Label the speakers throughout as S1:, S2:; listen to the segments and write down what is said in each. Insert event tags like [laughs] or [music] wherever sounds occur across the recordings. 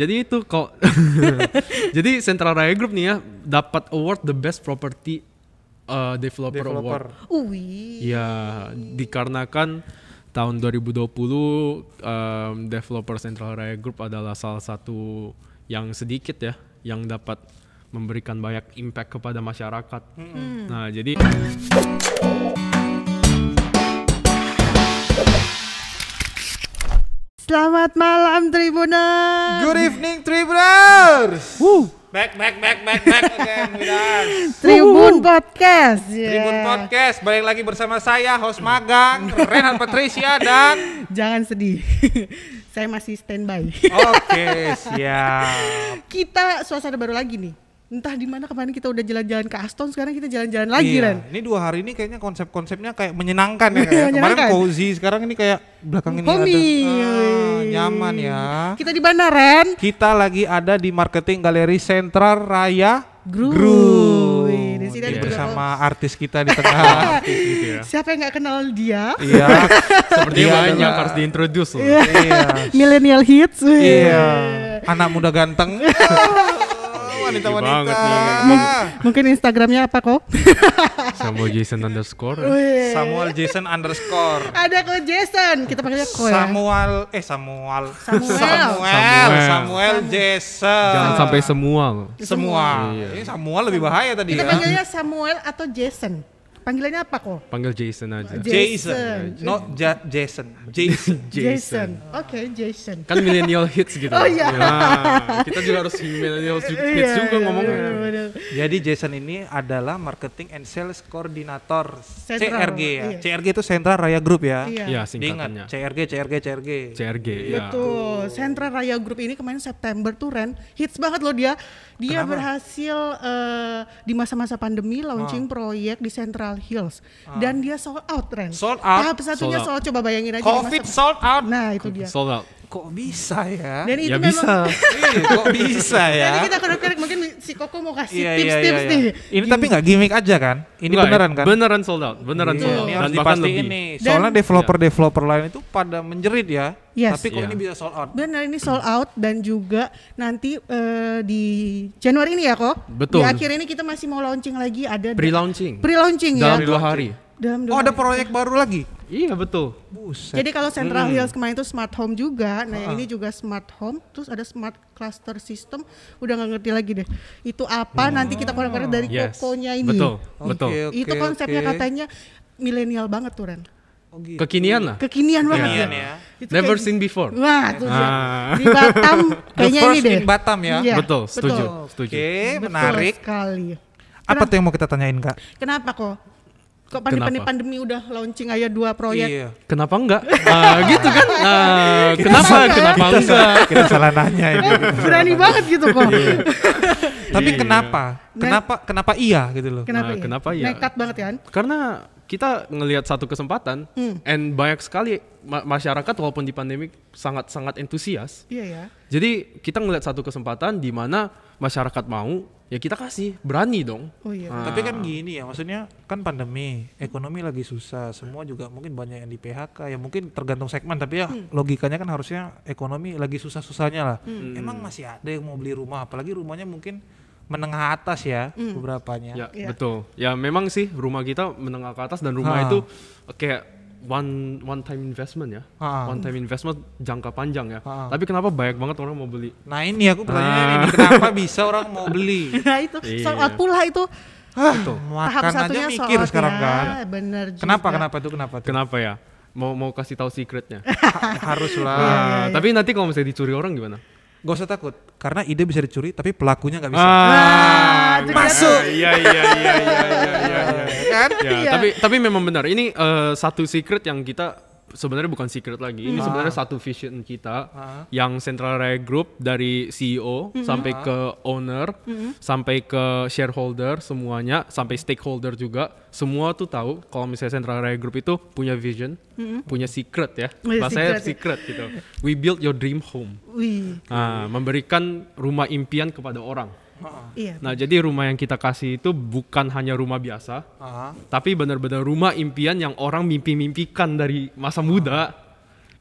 S1: Jadi itu
S2: [laughs]
S1: kok. Jadi Central Raya Group nih ya dapat award the best property uh, developer, award.
S2: developer.
S3: Ui.
S1: Ya, dikarenakan tahun 2020 um, developer Central Raya Group adalah salah satu yang sedikit ya yang dapat memberikan banyak impact kepada masyarakat. Nah, jadi
S2: Iya,
S3: Selamat malam Tribuners.
S2: Good evening Tribuners.
S1: Wuh.
S2: Back back back back back [laughs] again with us.
S3: Tribun Podcast. ya.
S2: Tribun Podcast balik lagi bersama saya host magang Renan Patricia dan
S3: Jangan sedih. [laughs] Saya masih standby. [laughs]
S2: Oke, siap.
S3: kita suasana baru lagi nih. Entah di mana kemarin kita udah jalan-jalan ke Aston, sekarang kita jalan-jalan lagi
S2: Iya,
S3: Ren. Iya,
S2: Ini dua hari ini kayaknya konsep-konsepnya kayak menyenangkan ya. kayak. Kemarin
S3: Menyenangkan.
S2: cozy, sekarang ini kayak belakang ini ada
S3: Homey.
S2: Ah, nyaman ya.
S3: Kita di mana Ren?
S2: Kita lagi ada di marketing galeri Sentral Raya
S3: Gru.
S2: Group.
S3: Wih, di sini ada
S2: Ini
S3: juga-
S2: bersama artis kita di tengah.
S3: [laughs]
S1: gitu ya.
S3: Siapa yang nggak kenal dia?
S2: [laughs] Iya.
S1: Sepertinya
S2: Iya,
S1: banyak
S2: adalah-
S1: harus diintroduce loh.
S2: Iya.
S3: Millennial hits. wih.
S2: Iya. Anak muda ganteng. [laughs] Wanita-wanita.
S1: banget nih.
S3: Mungkin Instagramnya apa
S2: [laughs]
S3: kok?
S1: Sama Jason
S2: Iya.
S1: underscore.
S3: Wih.
S2: Samuel Jason underscore.
S3: Ada kok Jason. Kita panggilnya kok ya.
S2: Samuel eh Samuel.
S3: Samuel.
S2: Samuel,
S1: Samuel.
S2: Samuel Jason.
S1: Jangan sampai semua loh.
S2: semua. Ini Samuel lebih bahaya tadi
S3: Kita
S2: ya.
S3: panggilnya Samuel atau Jason. Panggilannya apa kok?
S1: Panggil Jason aja.
S2: Jason, not Ja- Jason. Jason.
S3: Jason. Oke, Jason.
S1: kan millennial hits gitu.
S3: Oh, iya.
S1: Nah, kita juga harus millennial ju- hits juga ngomongnya. Iya,
S3: bener, Iya, bener.
S2: Jadi Jason ini adalah marketing and sales koordinator
S3: Sentral,
S2: CRG ya.
S3: iya.
S2: CRG itu Sentra Raya Group ya.
S3: Iya.
S1: Iya,
S2: Diingat
S1: singkatannya.
S2: CRG CRG CRG.
S1: CRG
S2: Iya.
S1: ya.
S3: Betul. Sentra Raya Group ini kemarin September tuh Ren hits banget loh dia. Dia berhasil eh, di masa-masa pandemi launching proyek di Central Hills dan dia sold out Ren.
S2: Sold out?
S3: Tahap satunya
S1: Sold
S3: sold, coba bayangin aja di
S2: Covid
S3: masa-
S2: sold out.
S3: Nah, itu dia.
S1: Sold out.
S2: Kok bisa ya?
S3: Dan
S1: Ya
S3: itu memang
S1: bisa.
S2: Ih, Kok bisa ya?
S3: Tadi Nah, kita korek-korek mungkin si Koko mau kasih
S2: Iya, iya, iya,
S3: tips-tips
S2: iya.
S3: nih.
S2: Ini tapi nggak gimmick aja kan? Ini
S1: Enggak,
S2: beneran kan?
S1: Beneran sold out. Beneran
S2: Iya,
S1: sold out.
S2: Ini
S1: Dan
S2: harus
S1: bahkan
S2: dipastiin
S1: lebih.
S2: nih.
S3: Dan- iya.
S2: Soalnya developer-developer lain itu pada menjerit ya.
S3: Yes.
S2: Tapi kok
S1: Iya.
S2: ini bisa sold out?
S3: Benar ini sold out dan juga nanti eh, di Januari ini ya kok.
S1: Betul.
S3: Di akhir ini kita masih mau launching lagi ada
S1: Pre-launching.
S3: pre-launching ya.
S1: Dalam dua hari.
S3: Dalam dua
S2: Oh ada
S3: hari.
S2: proyek baru lagi?
S1: Iya betul.
S2: Buset.
S3: Jadi kalau Central
S1: Hmm.
S3: Hills kemarin itu smart home juga, nah
S1: Ah.
S3: yang ini juga smart home, terus ada smart cluster system, udah nggak ngerti lagi deh. Itu apa? Nanti kita korek-korek dari
S1: Hmm. Yes.
S3: kokonya ini.
S1: Betul.
S2: Oke,
S1: Betul.
S2: oke,
S3: itu konsepnya
S2: oke.
S3: katanya milenial banget tuh Ren.
S2: Oh, gitu.
S1: Kekinian lah.
S3: Kekinian banget
S1: Kekinian
S2: ya.
S3: Itu
S1: Never
S3: kayak- gitu.
S1: seen before.
S3: Wah, tuh dia.
S1: Ah.
S3: di
S2: [laughs]
S3: Batam kayaknya ini
S2: first
S3: deh.
S2: in Batam ya?
S3: Iya,
S1: Betul. Setuju.
S2: Oke,
S1: Setuju.
S3: Betul
S2: menarik.
S3: sekali.
S2: Apa tuh yang mau kita tanyain kak?
S3: Kenapa kok? Kok pandemi,
S1: Kenapa?
S3: pandemi udah launching aja dua proyek?
S2: Iya.
S1: Kenapa enggak? Nah, gitu
S3: [laughs]
S1: kan. Nah, kenapa?
S3: salah.
S1: Kenapa
S2: Kita
S1: enggak?
S2: salah- Kita salah nanya ini.
S3: Berani banget gitu kok.
S1: Iya.
S3: [laughs]
S1: Nah,
S2: Tapi kenapa? Kenapa? Kenapa iya gitu loh?
S3: Nah,
S1: Nah,
S3: Kenapa? ya?
S1: kenapa ya?
S3: Nekat banget kan?
S1: Karena kita ngelihat satu kesempatan,
S3: Hmm.
S1: and banyak sekali ma- masyarakat walaupun di pandemik sangat-sangat antusias
S3: Iya ya.
S1: Jadi kita ngeliat satu kesempatan di mana masyarakat mau, ya kita kasih, berani dong.
S3: Oh iya.
S2: Tapi kan gini ya, maksudnya kan pandemi, ekonomi lagi susah, semua juga mungkin banyak yang di PHK, ya mungkin tergantung segmen, tapi ya
S3: Hmm.
S2: logikanya kan harusnya ekonomi lagi susah-susahnya lah.
S3: Hmm.
S1: Hmm.
S2: Emang masih ada yang mau beli rumah, apalagi rumahnya mungkin menengah atas ya,
S3: Hmm.
S2: beberapanya.
S1: Ya,
S3: Iya.
S1: betul. Ya memang sih rumah kita menengah ke atas dan rumah
S2: Ha.
S1: itu kayak one one time investment ya.
S2: Ha.
S1: One time investment jangka panjang ya.
S2: Ha.
S1: Tapi kenapa banyak banget orang mau beli?
S2: Nah ini aku pertanyaannya
S1: Ah.
S2: ini, kenapa bisa orang mau beli?
S1: Iya.
S3: Nah itu sold out pula itu
S2: Hah,
S3: tahap
S2: makan aja
S3: satunya sold
S2: mikir
S3: out
S2: sekarang
S3: ya.
S2: kan.
S3: Bener juga.
S2: Kenapa, kenapa tuh, kenapa tuh?
S1: Kenapa ya? Mau mau kasih tahu secretnya. [laughs]
S2: Haruslah.
S1: Ah, Tapi nanti kalau misalnya dicuri orang gimana?
S2: Gak usah takut, karena ide bisa dicuri, tapi pelakunya nggak bisa.
S1: Ah,
S3: itu dia.
S1: masuk. Iya iya iya iya iya iya.
S2: Kan?
S1: Ya,
S3: Iya.
S1: tapi tapi memang benar. Ini eh, satu secret yang kita sebenarnya bukan secret lagi. Ini sebenarnya satu vision kita yang Central Raya Group dari CEO sampai ke owner, sampai ke shareholder semuanya, sampai stakeholder juga. Semua tuh tahu kalau misalnya Central Raya Group itu punya vision, punya secret ya.
S3: Punya
S1: Bahasanya
S3: secret ya.
S1: secret gitu. We build your dream home.
S3: Wih,
S1: Ah, memberikan rumah impian kepada orang.
S3: iya.
S1: Nah, jadi rumah yang kita kasih itu bukan hanya rumah biasa,
S2: Ah.
S1: tapi benar-benar rumah impian yang orang mimpi-mimpikan dari masa muda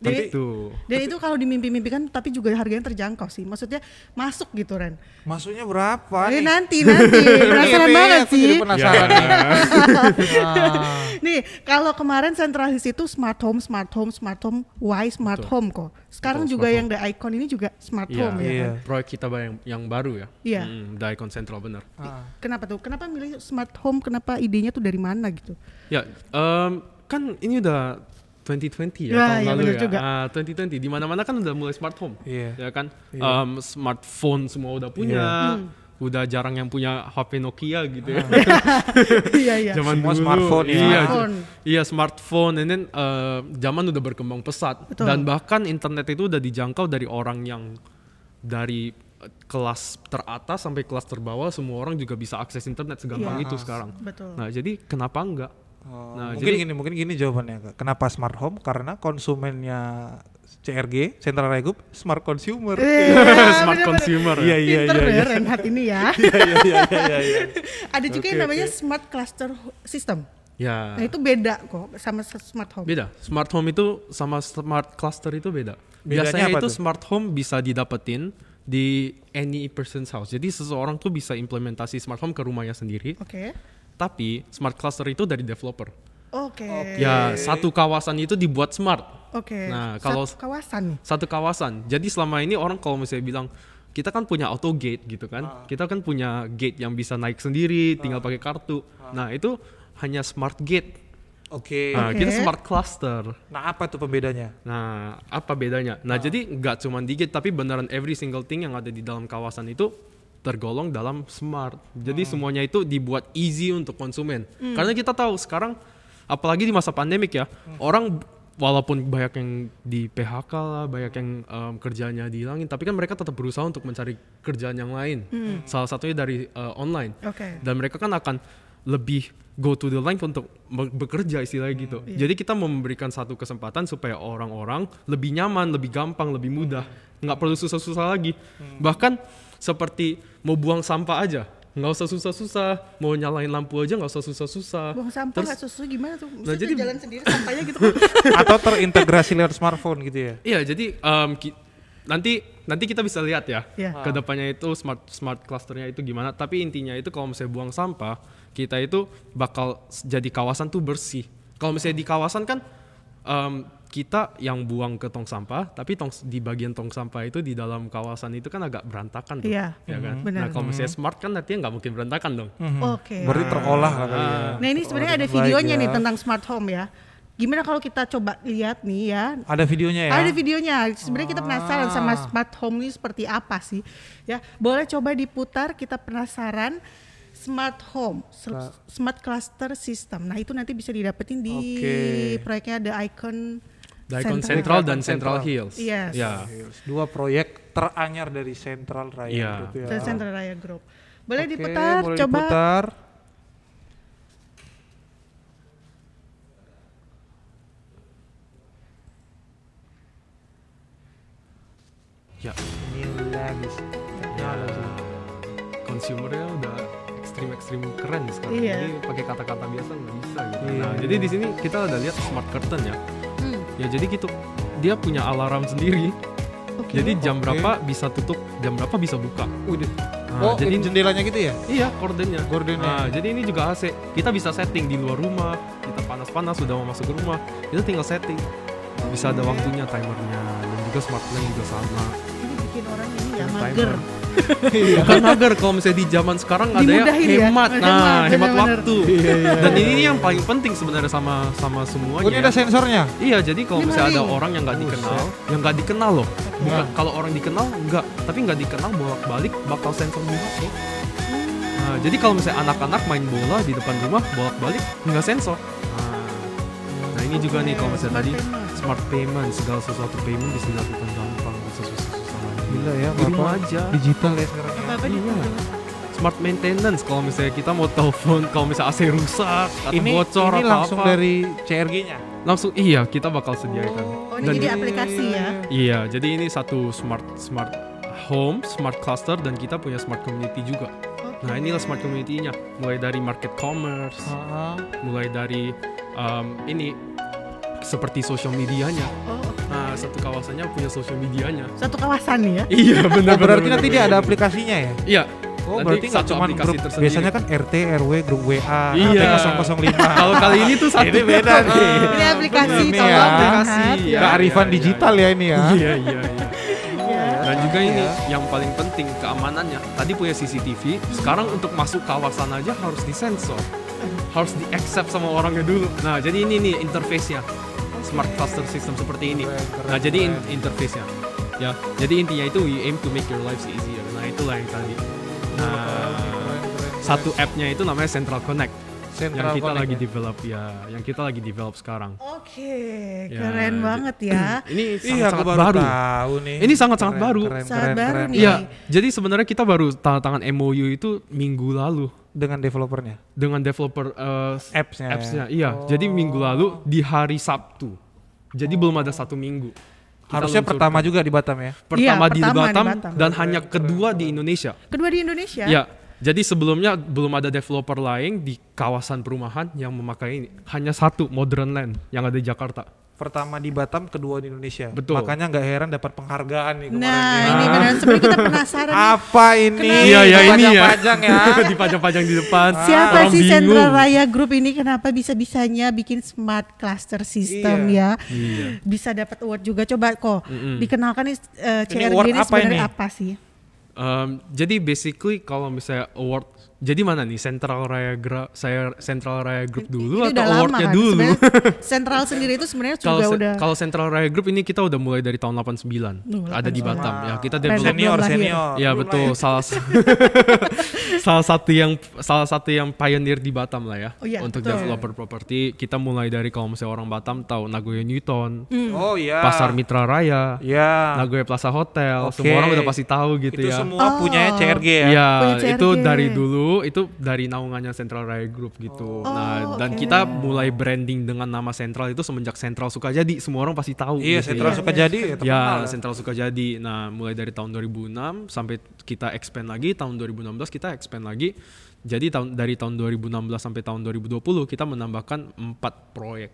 S3: Jadi-
S1: Gitu.
S3: Dan itu kalau dimimpi-mimpikan tapi juga harganya terjangkau sih. Maksudnya masuk gitu Ren.
S2: Maksudnya berapa nih? Iya.
S3: Eh, nanti
S2: [laughs]
S3: nanti
S1: Iya,
S3: penasaran
S2: Ini,
S3: banget
S2: Iya, aku
S3: sih.
S2: Jadi penasaran
S1: Ya.
S2: nih. Ah.
S3: Nih, kalau kemarin sentralis itu smart home, smart home, smart home, why smart home kok. Sekarang
S1: Betul,
S3: juga
S1: smart
S3: yang the icon ini juga smart
S1: Iya.
S3: home ya.
S2: Iya.
S3: kan?
S1: Proyek kita yang yang baru ya.
S3: Iya.
S1: Mm, Daikon Central bener.
S2: Ah.
S3: Kenapa tuh? Kenapa milih smart home? Kenapa idenya tuh dari mana gitu?
S1: Ya, em, kan ini udah 2020 ya, tahun
S3: Ya, iya,
S1: lalu
S3: bener
S1: ya.
S3: juga.
S1: Ah, 2020 di mana-mana kan udah mulai smart home.
S2: Iya.
S1: Ya kan?
S2: Iya.
S1: Em, smartphone semua udah punya. Udah jarang yang punya HP Nokia gitu ya.
S3: Iya iya.
S1: Zaman
S2: Semua
S1: dulu.
S2: smartphone ya.
S1: Iya,
S3: Smartphone.
S1: iya, smartphone and then eh, zaman udah berkembang pesat
S3: Betul.
S1: dan bahkan internet itu udah dijangkau dari orang yang dari eh, kelas teratas sampai kelas terbawah semua orang juga bisa akses internet segampang
S3: Iya.
S1: itu sekarang.
S3: Betul.
S1: Nah, jadi kenapa
S3: [laughs]
S1: enggak?
S2: Oh,
S1: Nah,
S2: mungkin
S1: jadi-
S2: gini, mungkin gini jawabannya. Kak. Kenapa smart home? Karena konsumennya CRG, Central Raya Group, smart consumer.
S3: Eh.
S1: Smart
S3: Iya, bener-bener.
S1: consumer ya.
S2: Iya, iya,
S3: Pinter
S2: iya,
S3: ya
S2: iya.
S3: Renhat ini ya.
S2: Iya, iya, iya, iya.
S3: Ada juga
S2: Oke,
S3: yang namanya
S2: oke.
S3: smart cluster ho- system.
S1: Ya.
S3: Nah itu beda kok sama s- smart home.
S1: Beda. Smart home itu sama smart cluster itu beda.
S2: Bedanya
S1: Biasanya
S2: apa
S1: itu
S2: tuh?
S1: smart home bisa didapetin di any person's house. Jadi seseorang tuh bisa implementasi smart home ke rumahnya sendiri.
S3: Oke.
S1: Tapi smart cluster itu dari developer.
S3: Oke.
S1: Ya, satu kawasan itu dibuat smart.
S3: Oke.
S1: Nah, kalau-
S3: Satu kawasan.
S1: Satu kawasan. Jadi selama ini orang kalau misalnya bilang kita kan punya auto gate gitu
S3: Ah.
S1: kan. Kita kan punya gate yang bisa naik sendiri, tinggal pakai kartu.
S3: Ah.
S1: Nah, itu hanya smart gate.
S2: Oke.
S1: Nah, kita
S3: Oke.
S1: smart cluster.
S2: Nah, apa tuh pembedanya?
S1: Nah, apa bedanya? Nah, jadi nggak cuma dikit, tapi beneran every single thing yang ada di dalam kawasan itu tergolong dalam smart. Jadi semuanya itu dibuat easy untuk konsumen. Karena kita tahu sekarang, apalagi di masa pandemik ya, orang walaupun banyak yang di PHK lah, banyak yang em, kerjanya dihilangin, tapi kan mereka tetap berusaha untuk mencari kerjaan yang lain. Salah satunya dari eh, online
S3: Oke.
S1: dan mereka kan akan lebih go to the line untuk be- bekerja istilahnya gitu. Jadi kita memberikan satu kesempatan supaya orang-orang lebih nyaman, lebih gampang, lebih mudah, nggak perlu susah-susah lagi.
S3: Hmm.
S1: Bahkan seperti mau buang sampah aja, nggak usah susah-susah, mau nyalain lampu aja nggak usah susah-susah.
S3: Buang sampah
S1: Terus-
S3: nggak susu gimana tuh? Maksudnya
S1: jadi-
S3: jalan sendiri sampahnya gitu kan?
S2: Atau terintegrasi lewat smartphone gitu ya?
S1: Iya, jadi em, ki- nanti nanti kita bisa lihat ya
S3: Iya.
S1: kedepannya itu smart smart clusternya itu gimana. Tapi intinya itu kalau misalnya buang sampah kita itu bakal s- jadi kawasan tuh bersih. Kalau misalnya di kawasan kan em, kita yang buang ke tong sampah, tapi tong s- di bagian tong sampah itu di dalam kawasan itu kan agak berantakan tuh,
S3: Iya,
S1: ya kan?
S3: mhm, benar.
S1: Nah kalau misalnya smart kan nantinya nggak mungkin berantakan dong.
S3: Oke.
S2: Berarti terolah lah kali
S1: Ah.
S2: ya.
S3: Nah ini sebenarnya ada
S2: Terolah dengan
S3: videonya
S2: baik
S3: nih
S2: ya.
S3: tentang smart home ya. Gimana kalau kita coba lihat nih ya?
S2: Ada videonya ya? Ah.
S3: Ada videonya. Sebenarnya kita penasaran sama smart home ini seperti apa sih? Ya, boleh coba diputar. Kita penasaran smart home, sl- smart cluster system. Nah itu nanti bisa didapetin di
S2: Oke.
S3: proyeknya The Icon.
S1: Daikon
S3: Central.
S1: Central dan
S2: Daikon
S1: Central
S2: Central.
S1: Hills.
S3: Yes.
S1: Ya.
S2: Dua proyek teranyar dari Central Raya
S1: Iya.
S2: Group ya.
S3: The Central Raya Group. Boleh
S2: Oke,
S3: diputar,
S2: boleh
S3: coba.
S2: diputar.
S1: Ya,
S2: Ini lagi. Teknologi.
S1: konsumernya udah ekstrim ekstrim keren sekarang
S3: Iya.
S1: jadi pakai kata-kata biasa nggak bisa gitu
S2: Iya.
S1: nah jadi di sini kita udah lihat smart curtain ya
S3: Hmm,
S1: ya jadi gitu dia punya alarm sendiri
S3: oke.
S1: jadi jam
S2: Oke.
S1: berapa bisa tutup jam berapa bisa buka
S2: Udah.
S1: Nah,
S2: Oh,
S1: jadi-
S2: jadi Ah, jendelanya gitu ya?
S1: iya kordennya
S2: Gordennya.
S1: nah jadi ini juga AC kita bisa setting di luar rumah kita panas-panas sudah mau masuk ke rumah kita tinggal setting bisa ada waktunya timernya dan juga smart plan juga sama
S3: Ini bikin orang ini ya
S1: Timer. [laughs]
S3: mager.
S1: Iya, bukan mager kalau misalnya di zaman sekarang ada ya
S3: Dimudahin ya,
S1: hemat
S3: hemat,
S1: nah hemat
S3: benar-benar. Iya,
S1: waktu dan ini yang paling penting sebenarnya sama sama
S2: Oh, ini
S1: semuanya
S2: ada sensornya.
S1: iya jadi kalau
S3: Ini
S1: misalnya ada
S3: maling.
S1: orang yang nggak dikenal yang nggak dikenal loh
S2: Iya.
S1: bukan kalau orang dikenal nggak tapi nggak dikenal bolak balik bakal sensor di HP
S3: Hmm.
S1: nah, jadi kalau misalnya anak-anak main bola di depan rumah bolak balik nggak sensor nah, nah ini juga nih kalau misalnya tadi
S3: Smart payment.
S1: smart payment segala sesuatu payment bisa dilakukan gampang nggak usah susah-susah lagi
S2: Gila ya,
S1: di rumah
S2: Bapak.
S1: aja
S2: Digital ya sekarang. ya.
S3: Apa-apa
S1: Iya.
S3: diputar.
S1: smart maintenance kalau misalnya kita mau telepon kalau misalnya AC rusak atau bocor
S2: ini
S1: atau
S2: langsung
S1: apa
S2: dari CRG-nya.
S1: langsung iya kita bakal sediakan
S3: Oh, ini jadi aplikasi ya.
S1: iya jadi ini satu smart smart home smart cluster dan kita punya smart community juga nah inilah smart community-nya Ah.
S2: Ah,
S1: mulai dari market commerce mulai dari um, ini seperti social medianya.
S3: Oh, oke.
S1: Nah, satu kawasannya punya social medianya.
S3: satu kawasan nih ya.
S1: [laughs] Iya, benar
S2: Oh, berarti nanti dia ada aplikasinya ya?
S1: Iya.
S2: Oh,
S1: nanti
S2: berarti nggak
S1: satu
S2: cuma
S1: aplikasi
S2: grup.
S1: tersendiri.
S2: Biasanya kan RT, RW, grup WA,
S1: Iya.
S2: RT 005.
S1: Kalau kali ini tuh satu
S2: Ini
S1: [laughs]
S2: beda nih.
S3: Ini aplikasi
S2: bener nih
S3: tolong
S2: ya.
S1: Iya.
S3: diangkat.
S1: Aplikasi, ya.
S2: Kearifan
S1: iya,
S2: digital ya ini ya.
S1: Iya, iya, iya.
S3: Ya.
S1: Dan juga ini yang paling penting keamanannya. Tadi punya CCTV, sekarang untuk masuk kawasan aja harus disensor. Harus di accept sama orangnya dulu. Nah, jadi ini nih interface-nya. Smart cluster system seperti ini.
S2: Keren, keren,
S1: Nah, jadi in- interface-nya. Ya, jadi intinya itu we aim to make your lives easier. Nah, itulah yang tadi. Nah, satu app-nya itu namanya Central Connect. yang
S2: Central
S1: kita
S2: Connect
S1: lagi
S2: ya?
S1: develop ya, yang kita lagi develop sekarang.
S3: Oke,
S1: Ya,
S3: keren
S1: jadi-
S3: banget ya.
S1: Ini
S2: Iya,
S1: sangat,
S2: aku
S1: -sangat
S2: baru,
S1: baru.
S2: tahu nih.
S1: Ini sangat-sangat
S2: Keren,
S1: baru.
S2: keren,
S3: Sangat
S2: keren,
S3: baru
S2: keren.
S3: nih.
S1: Iya, jadi sebenarnya kita baru tanda tangan MOU itu minggu lalu
S2: Dengan developernya,
S1: dengan developer eh,
S2: apps-nya. ya?
S1: apps-nya. Iya,
S3: Oh.
S1: jadi minggu lalu di hari Sabtu. Jadi belum ada satu minggu. Kita
S2: Harusnya
S1: luncurkan.
S2: pertama juga di Batam ya.
S3: Iya,
S1: pertama, di,
S3: pertama di
S1: Batam,
S3: Batam. Ya.
S1: dan hanya kedua di Indonesia.
S3: Kedua di Indonesia.
S1: Iya. Jadi sebelumnya belum ada developer lain di kawasan perumahan yang memakai ini. Hanya satu Modern Land yang ada di Jakarta.
S2: Pertama di Batam, kedua di Indonesia.
S1: Betul.
S2: Makanya nggak heran dapat penghargaan nih kemarin.
S3: Nah,
S2: nih.
S1: ya.
S3: ini benar sebenarnya
S1: [laughs]
S3: kita
S1: Ah,
S3: penasaran nih,
S2: Apa ini?
S3: Kenapa?
S1: Iya, ya ini ya.
S2: Panjang ya.
S1: [laughs] Dipajang-pajang di depan.
S3: Siapa
S1: Orang
S3: sih
S1: bingung.
S3: Sentra Raya Group ini kenapa bisa-bisanya bikin smart cluster system ya?
S1: Iya.
S3: Bisa dapat award juga. Coba kok dikenalkan nih eh, CRG
S2: award
S3: ini,
S2: apa
S3: sebenarnya
S2: ini?
S3: apa sih?
S1: Um, jadi basically kalau misalnya award jadi mana nih Central Raya Gra- saya Central Raya Group dulu
S3: Ini
S1: atau awardnya
S3: kan?
S1: dulu?
S3: Sebenarnya Sentral sendiri itu sebenarnya
S1: [laughs] Kalau
S3: juga
S1: se-
S3: udah
S1: kalau Central Raya Group ini kita udah mulai dari tahun 89
S3: Duh,
S1: ada di
S3: 89.
S1: Batam ya kita
S3: Keren.
S1: develop
S2: Senior,
S3: Belum lahir.
S2: senior.
S1: ya betul salah sa- [laughs] salah satu yang salah satu yang pioneer di Batam lah ya
S3: Oh, iya,
S1: untuk
S3: betul.
S1: developer properti kita mulai dari kalau misalnya orang Batam tahu Nagoya Newton
S2: Oh iya.
S1: Pasar Mitra Raya
S2: Ya.
S1: Nagoya Plaza Hotel
S2: Oke.
S1: semua orang udah pasti tahu gitu
S2: itu
S1: ya
S2: semua
S3: Oh.
S2: punyanya CRG ya.
S1: Iya,
S3: Punya
S1: itu
S3: CRG.
S1: dari dulu itu dari naungannya Central Raya Group gitu. nah, dan kita mulai branding dengan nama Central itu semenjak Central Sukajadi, semua orang pasti tahu.
S2: Iya,
S1: gitu
S2: Sentra
S1: ya.
S2: Sukajadi ya terkenal.
S1: Ya, Sentral Sukajadi. Nah, mulai dari tahun 2006 sampai kita expand lagi tahun 2016 kita expand lagi. Jadi tahun dari tahun 2016 sampai tahun 2020 kita menambahkan 4 proyek.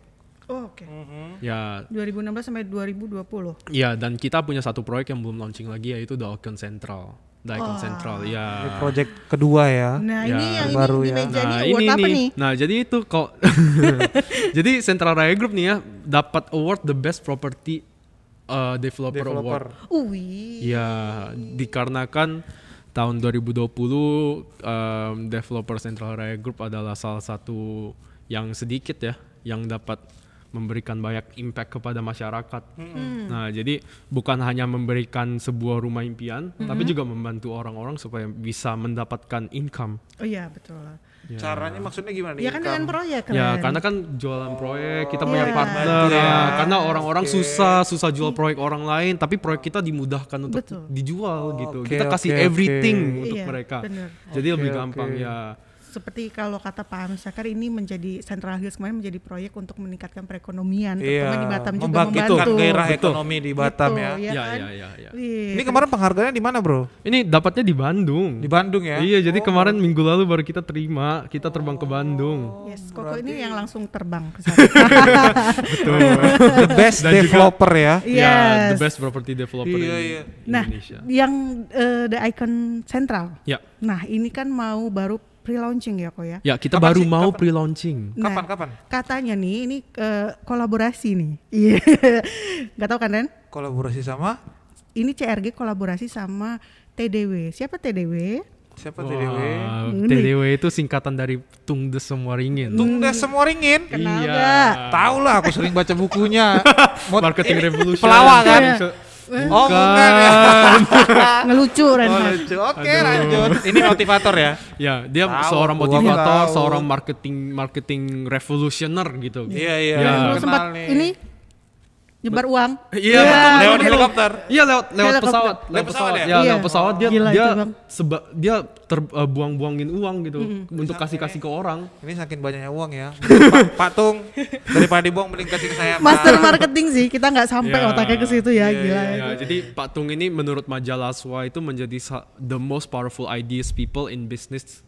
S3: Oh, oke.
S2: Hmm.
S1: Ya,
S3: 2016 sampai 2020.
S1: ya dan kita punya satu proyek yang belum launching lagi yaitu Dalcon Central. Dalcon Central,
S2: Ini
S1: ya.
S2: project kedua ya.
S3: Nah, ini
S1: Ya,
S3: yang
S2: baru
S3: ini di
S2: ya.
S3: meja ini award apa nih?
S1: Nah, jadi itu
S3: [laughs]
S1: kok jadi Central Raya Group nih ya dapat award the best property uh, developer,
S2: Developer.
S1: award.
S3: Uwi.
S1: Ya, dikarenakan tahun 2020 um, developer Central Raya Group adalah salah satu yang sedikit ya yang dapat memberikan banyak impact kepada masyarakat. Nah, jadi bukan hanya memberikan sebuah rumah impian, tapi juga membantu orang-orang supaya bisa mendapatkan income.
S3: Oh iya, betul.
S2: Caranya maksudnya gimana nih?
S3: Ya kan dengan proyek kan.
S1: Ya, karena kan jualan proyek kita punya
S3: iya.
S1: partner
S2: Bantu ya.
S1: ya. Karena orang-orang susah, susah jual proyek orang lain, tapi proyek kita dimudahkan untuk
S3: Betul.
S1: dijual gitu.
S2: oke,
S1: kita kasih
S2: oke,
S1: everything
S2: oke.
S1: untuk
S3: Iya,
S1: mereka.
S3: bener.
S1: Jadi lebih
S2: Oke,
S1: gampang
S2: oke.
S1: ya.
S3: Seperti kalau kata Pak Amsakar ini menjadi Central Hills kemarin menjadi proyek untuk meningkatkan perekonomian
S2: Iya.
S3: terutama di Batam juga
S2: Membangkitkan
S3: membantu.
S2: gairah
S1: Betul.
S2: ekonomi di Batam
S3: Betul,
S2: ya.
S1: Ya,
S3: kan?
S1: ya, ya, ya.
S3: Wih,
S2: Ini kemarin penghargaannya di mana, Bro?
S1: Ini dapatnya di Bandung.
S2: Di Bandung ya.
S1: Iya, jadi kemarin minggu lalu baru kita terima, kita terbang ke Bandung.
S2: Oh.
S3: Yes, Koko ini yang langsung terbang
S2: [laughs]
S3: ke sana. Nah,
S1: Betul.
S2: The best
S1: Dan juga-
S2: developer ya.
S1: [laughs] Ya, the
S3: Yes.
S1: best property developer
S2: Iya,
S1: in
S2: iya.
S3: Nah,
S1: Indonesia.
S3: yang eh, The Icon Central.
S1: Ya.
S3: Nah, ini kan mau baru pre-launching ya, Kok ya?
S1: Ya, kita
S2: Kapan
S1: baru
S2: sih?
S1: mau
S2: Kapan?
S1: pre-launching.
S3: Nah,
S2: Kapan kapan?
S3: Katanya nih, ini eh, kolaborasi nih. Iya. [laughs] Gak tau kan, Ren?
S2: Kolaborasi sama
S3: Ini CRG kolaborasi sama TDW.
S2: [laughs]
S3: Siapa TDW?
S2: siapa TDW?
S1: Wah, TDW itu singkatan dari Tungdes Semua Ringin.
S2: Tungdes semua ringin.
S1: Iya.
S3: Kenal nggak?
S2: Tahu lah aku sering baca [laughs] bukunya. Mot-
S1: Marketing Revolution.
S2: Pelawak kan?
S3: Iya.
S2: Oh,
S1: Bukan.
S2: bukan [laughs] ya.
S3: Ngelucu, Ren.
S2: Oh, lucu. Oke, lanjut. Ini motivator ya.
S1: Ya, dia
S2: Tahu,
S1: seorang
S2: gua
S1: motivator,
S2: tahu.
S1: seorang marketing marketing revolutioner gitu.
S2: Iya, iya.
S1: Ya.
S3: Lu
S2: Kenal
S3: sempat
S2: nih.
S3: ini nyebar uang.
S1: Iya,
S3: Iya,
S1: betul,
S2: Lewat
S1: betul.
S2: helikopter.
S1: Iya, lewat lewat
S3: Helikopter.
S1: pesawat,
S2: Lewat
S1: lewat
S2: pesawat
S1: pesawat.
S2: ya?
S1: Ya,
S3: Iya.
S1: lewat pesawat dia
S3: Gila
S1: dia
S3: itu, Bang.
S1: seba- dia ter, eh, buang-buangin uang gitu untuk kasih-kasih ke orang.
S2: Ini saking banyaknya uang
S1: [laughs]
S2: ya. Pak, Pak Tung daripada dibuang mending kasih ke saya. Pak.
S3: Master marketing sih, kita nggak sampai
S1: Ya.
S3: otaknya ke situ
S2: Iya,
S3: ya, gila.
S1: Ya, jadi Pak Tung ini menurut majalah Swa itu menjadi sa- the most powerful ideas people in business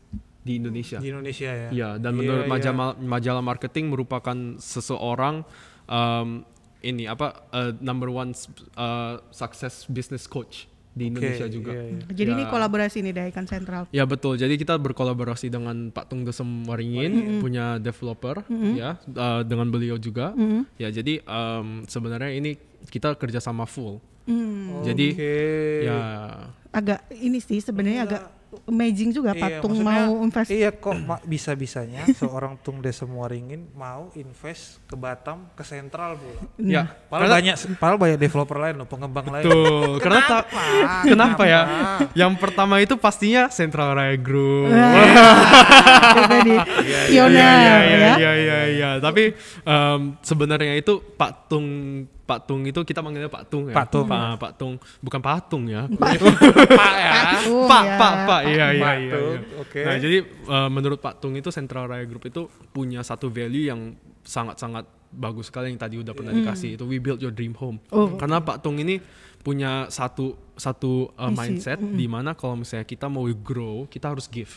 S1: di Indonesia.
S2: Di Indonesia ya.
S1: Iya, dan
S2: Iya,
S1: menurut
S2: iya.
S1: majalah majalah marketing merupakan seseorang um, ini apa uh, number one uh, success business coach di Indonesia juga.
S2: iya, iya.
S4: Jadi ini
S1: Ya.
S4: kolaborasi nih dari Icon Central.
S1: Ya betul. Jadi kita berkolaborasi dengan Pak Tung Desem Waringin punya developer ya uh, dengan beliau juga. Ya jadi um, sebenarnya ini kita kerjasama full. Oh, Jadi
S2: Oke.
S4: Iya.
S1: ya
S4: Agak ini sih sebenarnya agak amazing juga
S2: Iya,
S4: patung
S2: maksudnya,
S4: mau invest.
S2: Iya kok ma-
S4: [laughs]
S2: bisa-bisanya seorang Tung Desa Waringin mau invest ke Batam ke sentral pula.
S1: ya
S2: Padahal banyak padahal banyak developer lain loh, pengembang lain.
S1: Tuh, karena tak kenapa ya? Yang pertama itu pastinya Central Raya Group.
S2: iya.
S4: Itu tadi pioner
S1: iya,
S4: ya.
S1: Iya, iya, iya. Tapi em, sebenarnya itu Pak Tung Pak Tung itu kita manggilnya Pak Tung ya.
S2: Pak Tung.
S1: Pak, Pak Tung, bukan patung ya. [laughs]
S2: Pak ya.
S4: Patung
S1: Pak,
S4: ya.
S1: Pak, Pak, iya, iya,
S2: Pak
S1: iya.
S2: Tung,
S1: iya.
S2: oke.
S1: Nah, jadi eh, menurut Pak Tung itu Central Raya Group itu punya satu value yang sangat-sangat bagus sekali yang tadi udah pernah dikasih itu we build your dream home.
S4: Oh.
S1: Karena Pak Tung ini punya satu satu
S4: Visi,
S1: eh, mindset di mana kalau misalnya kita mau grow, kita harus give.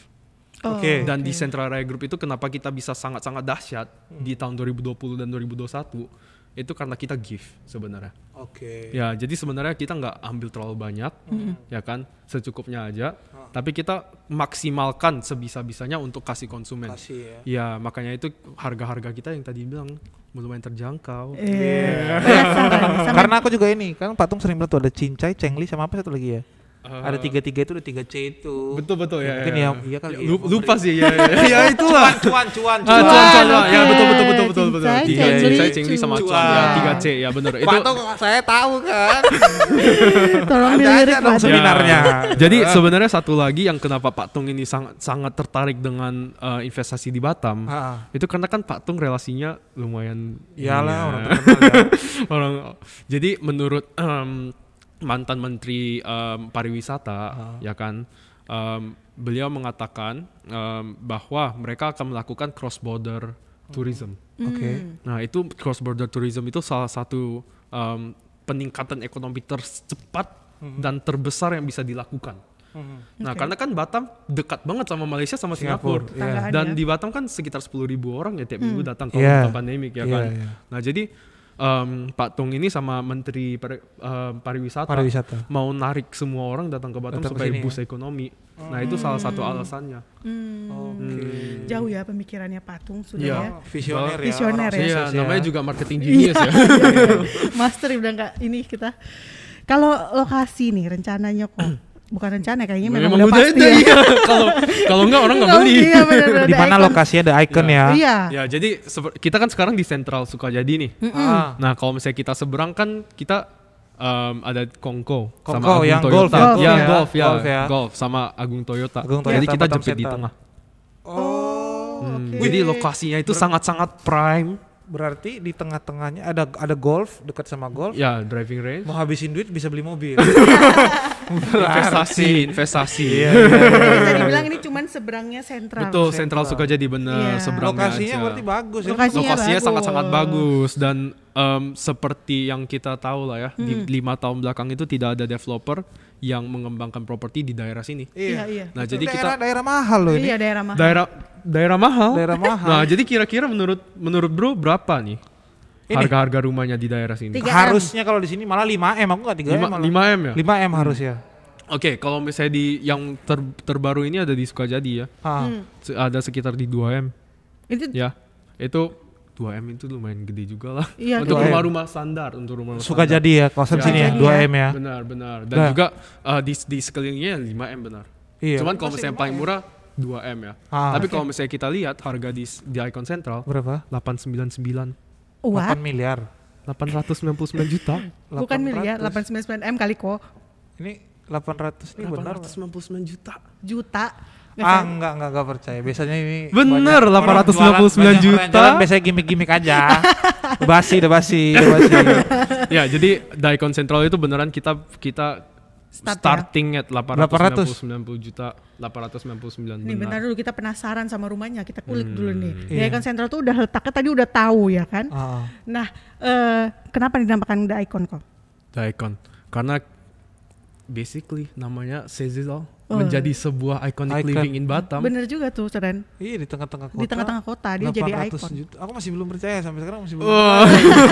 S4: Oh,
S2: Oke.
S1: Dan di Central Raya Group itu kenapa kita bisa sangat-sangat dahsyat di
S2: Hmm.
S1: tahun 2020 dan 2021 itu karena kita give sebenarnya.
S2: Oke.
S1: Ya, jadi sebenarnya kita nggak ambil terlalu banyak, ya kan, secukupnya aja. Tapi kita maksimalkan sebisa-bisanya untuk kasih konsumen.
S2: Kasih ya.
S1: Ya, makanya itu harga-harga kita yang tadi bilang lumayan terjangkau.
S4: Iya. Penasaran.
S2: [laughs]
S4: Sama
S2: Karena aku juga ini, kan patung sering banget tuh ada cincai, cengli sama apa satu lagi ya? ada tiga-tiga itu ada tiga C itu.
S1: Eh. Betul betul ya.
S2: Mungkin
S1: ya.
S2: ya, iya kali
S1: Ya,
S2: ya,
S1: lu-
S2: memberi.
S1: lupa sih ya. Ya,
S2: [laughs]
S1: ya itulah.
S2: Cuan, cuan, cuan,
S1: Ah,
S2: Eh, cuan.
S1: cuan, cuan, cuan.
S4: oke.
S1: Ya betul betul betul betul betul.
S4: Cincai,
S1: Tiga C,
S4: cengli,
S1: cincai, cengli sama
S2: cuan.
S1: cuan. Ya, tiga C ya benar. Itu
S2: Patung saya tahu kan.
S4: tolong
S2: Ada aja
S4: dilirik
S2: dong
S4: lagi.
S2: sebenarnya. seminarnya.
S1: Ya.
S2: [laughs]
S1: Jadi sebenarnya satu lagi yang kenapa Pak Tung ini sangat sangat tertarik dengan eh, investasi di Batam.
S2: [laughs] Ah.
S1: Itu karena kan Pak Tung relasinya lumayan
S2: Iyalah orang
S1: ini ya.
S2: terkenal ya.
S1: [laughs] orang. Jadi menurut em, mantan menteri em, pariwisata
S2: Ah.
S1: ya kan em, beliau mengatakan em, bahwa mereka akan melakukan cross border
S2: Hmm.
S1: tourism.
S2: Oke.
S1: Nah, itu cross border tourism itu salah satu um, peningkatan ekonomi tercepat
S2: Hmm.
S1: dan terbesar yang bisa dilakukan.
S2: Mm-hmm.
S1: Nah, karena kan Batam dekat banget sama Malaysia sama Singapura.
S2: Singapura,
S4: iya. Tetanggaan
S1: Dan
S4: ya. Hmm.
S1: di Batam kan sekitar 10.000 orang ya tiap minggu datang kalau
S2: Iya.
S1: bukan pandemik ya
S2: Iya,
S1: kan.
S2: iya.
S1: Nah, jadi um, Pak Tung ini sama Menteri Pari- um, Pariwisata,
S2: Pariwisata.
S1: mau narik semua orang datang ke Batam
S2: Datang ke
S1: supaya
S2: sini ya.
S1: boost ekonomi. Nah, itu salah satu
S4: Hmm.
S1: alasannya.
S2: Oke.
S4: Jauh ya pemikirannya patung sudah
S1: Iya.
S4: ya.
S2: Visioner ya.
S4: Visioner ya.
S2: orang
S4: Iya,
S1: Iya,
S2: sukses ya.
S1: namanya juga marketing genius
S4: [laughs]
S1: ya.
S4: Master udah nggak ini kita. Kalau lokasi nih rencananya kok. Bukan rencana kayaknya memang, udah pasti
S1: ada,
S4: ya. [laughs]
S1: iya. Kalau kalau enggak orang enggak
S4: Nggak-
S1: beli.
S4: Iya benar-benar.
S2: Di mana lokasinya ada icon ya?
S4: Iya.
S1: Ya, jadi seper- kita kan sekarang di Sentral Sukajadi nih.
S2: Ah.
S1: Nah, kalau misalnya kita seberang kan kita em, ada Kongko
S2: Kongko yang golf
S1: Toyota.
S2: ya,
S1: ya,
S2: golf
S1: golf
S2: ya.
S1: ya,
S2: Golf ya.
S1: golf sama Agung Toyota.
S2: Agung
S1: Jadi
S2: Toyota,
S1: kita
S2: Batam
S1: jepit di
S2: Sentral.
S1: tengah.
S2: Oh.
S1: Hmm,
S4: Oke.
S1: Jadi lokasinya itu sangat-sangat prime.
S2: Berarti di tengah-tengahnya ada ada golf dekat sama golf.
S1: Ya, driving
S2: [laughs]
S1: range.
S2: Mau habisin duit bisa beli
S1: [laughs]
S2: mobil.
S1: investasi, investasi.
S2: Iya,
S1: [laughs]
S4: Bisa dibilang ini cuman seberangnya sentral.
S1: Betul, Sentral Sukajadi bener
S4: Iya.
S1: seberangnya
S2: Lokasinya
S1: aja.
S2: berarti bagus ya.
S4: Lokasi- Lokasinya
S1: lokasinya
S4: bagus.
S1: sangat-sangat bagus dan em, seperti yang kita tahu lah ya di
S4: Hmm.
S1: lima tahun belakang itu tidak ada developer yang mengembangkan properti di daerah sini.
S4: Iya, iya.
S1: Nah
S2: Jadi
S1: jadi
S2: daerah,
S1: kita
S2: daerah mahal loh ini.
S4: Iya daerah mahal.
S1: daerah daerah mahal.
S2: Daerah mahal.
S1: Nah jadi kira-kira menurut menurut bro berapa nih
S2: Ini?
S1: harga-harga rumahnya di daerah sini?
S4: Tiga. 3M.
S2: Harusnya kalau di sini malah 5M, aku enggak 3M
S1: Lima-
S2: malah.
S1: 5M ya.
S2: 5M harus ya.
S1: Oke kalau misalnya di yang ter- terbaru ini ada di Sukajadi ya
S3: Hmm.
S2: Ah.
S1: Se- ada sekitar di 2 m
S4: Itu
S1: ya itu 2 m itu lumayan gede juga lah
S4: Iya,
S1: untuk
S2: 2M.
S1: rumah-rumah standar untuk rumah
S2: Suka jadi ya kawasan
S1: Iya.
S2: sini ya,
S1: Jadi
S2: 2M ya.
S1: Benar, benar. Dan
S2: Nah.
S1: juga uh, di, di sekelilingnya 5M benar.
S2: Iya.
S1: Cuman kalau misalnya yang paling murah 2M ya.
S2: Ah.
S1: Tapi kalau misalnya kita lihat harga di di Icon Central
S2: Berapa?
S1: 899
S4: wah
S2: 8 miliar.
S1: 899 juta.
S4: bukan ya, miliar 899 m kali kok
S2: Ini 800 ini benar.
S1: 899 juta.
S4: juta. Nggak salah.
S2: Ah, enggak, enggak, enggak percaya. Biasanya ini
S1: Bener,
S2: banyak orang
S1: 899
S2: jualan- banyak orang
S1: juta.
S2: Jalan, biasanya gimmick-gimmick
S3: [laughs]
S2: aja. basi, udah basi, [laughs] udah basi.
S1: [laughs]
S2: Ah,
S1: ya, jadi di Icon Central itu beneran kita kita
S4: Start ya.
S1: starting at
S2: 800.
S1: 899 juta, 899
S4: Nih bentar
S1: benar.
S4: dulu kita penasaran sama rumahnya, kita kulik dulu nih. Di Icon Central tuh udah letaknya tadi udah tahu ya kan.
S2: Ah.
S4: Nah, eh, kenapa dinamakan The Icon kok?
S1: Daikon. Karena basically namanya Sezizal
S3: Oh.
S1: menjadi sebuah iconic
S2: Icon.
S1: living in Batam.
S3: Bener juga tuh, Seren.
S2: Iya di tengah-tengah kota.
S3: Di tengah-tengah kota dia jadi
S2: 800
S3: ikon.
S2: Juta. Aku masih belum percaya sampai sekarang masih belum.
S1: Wah.
S2: percaya.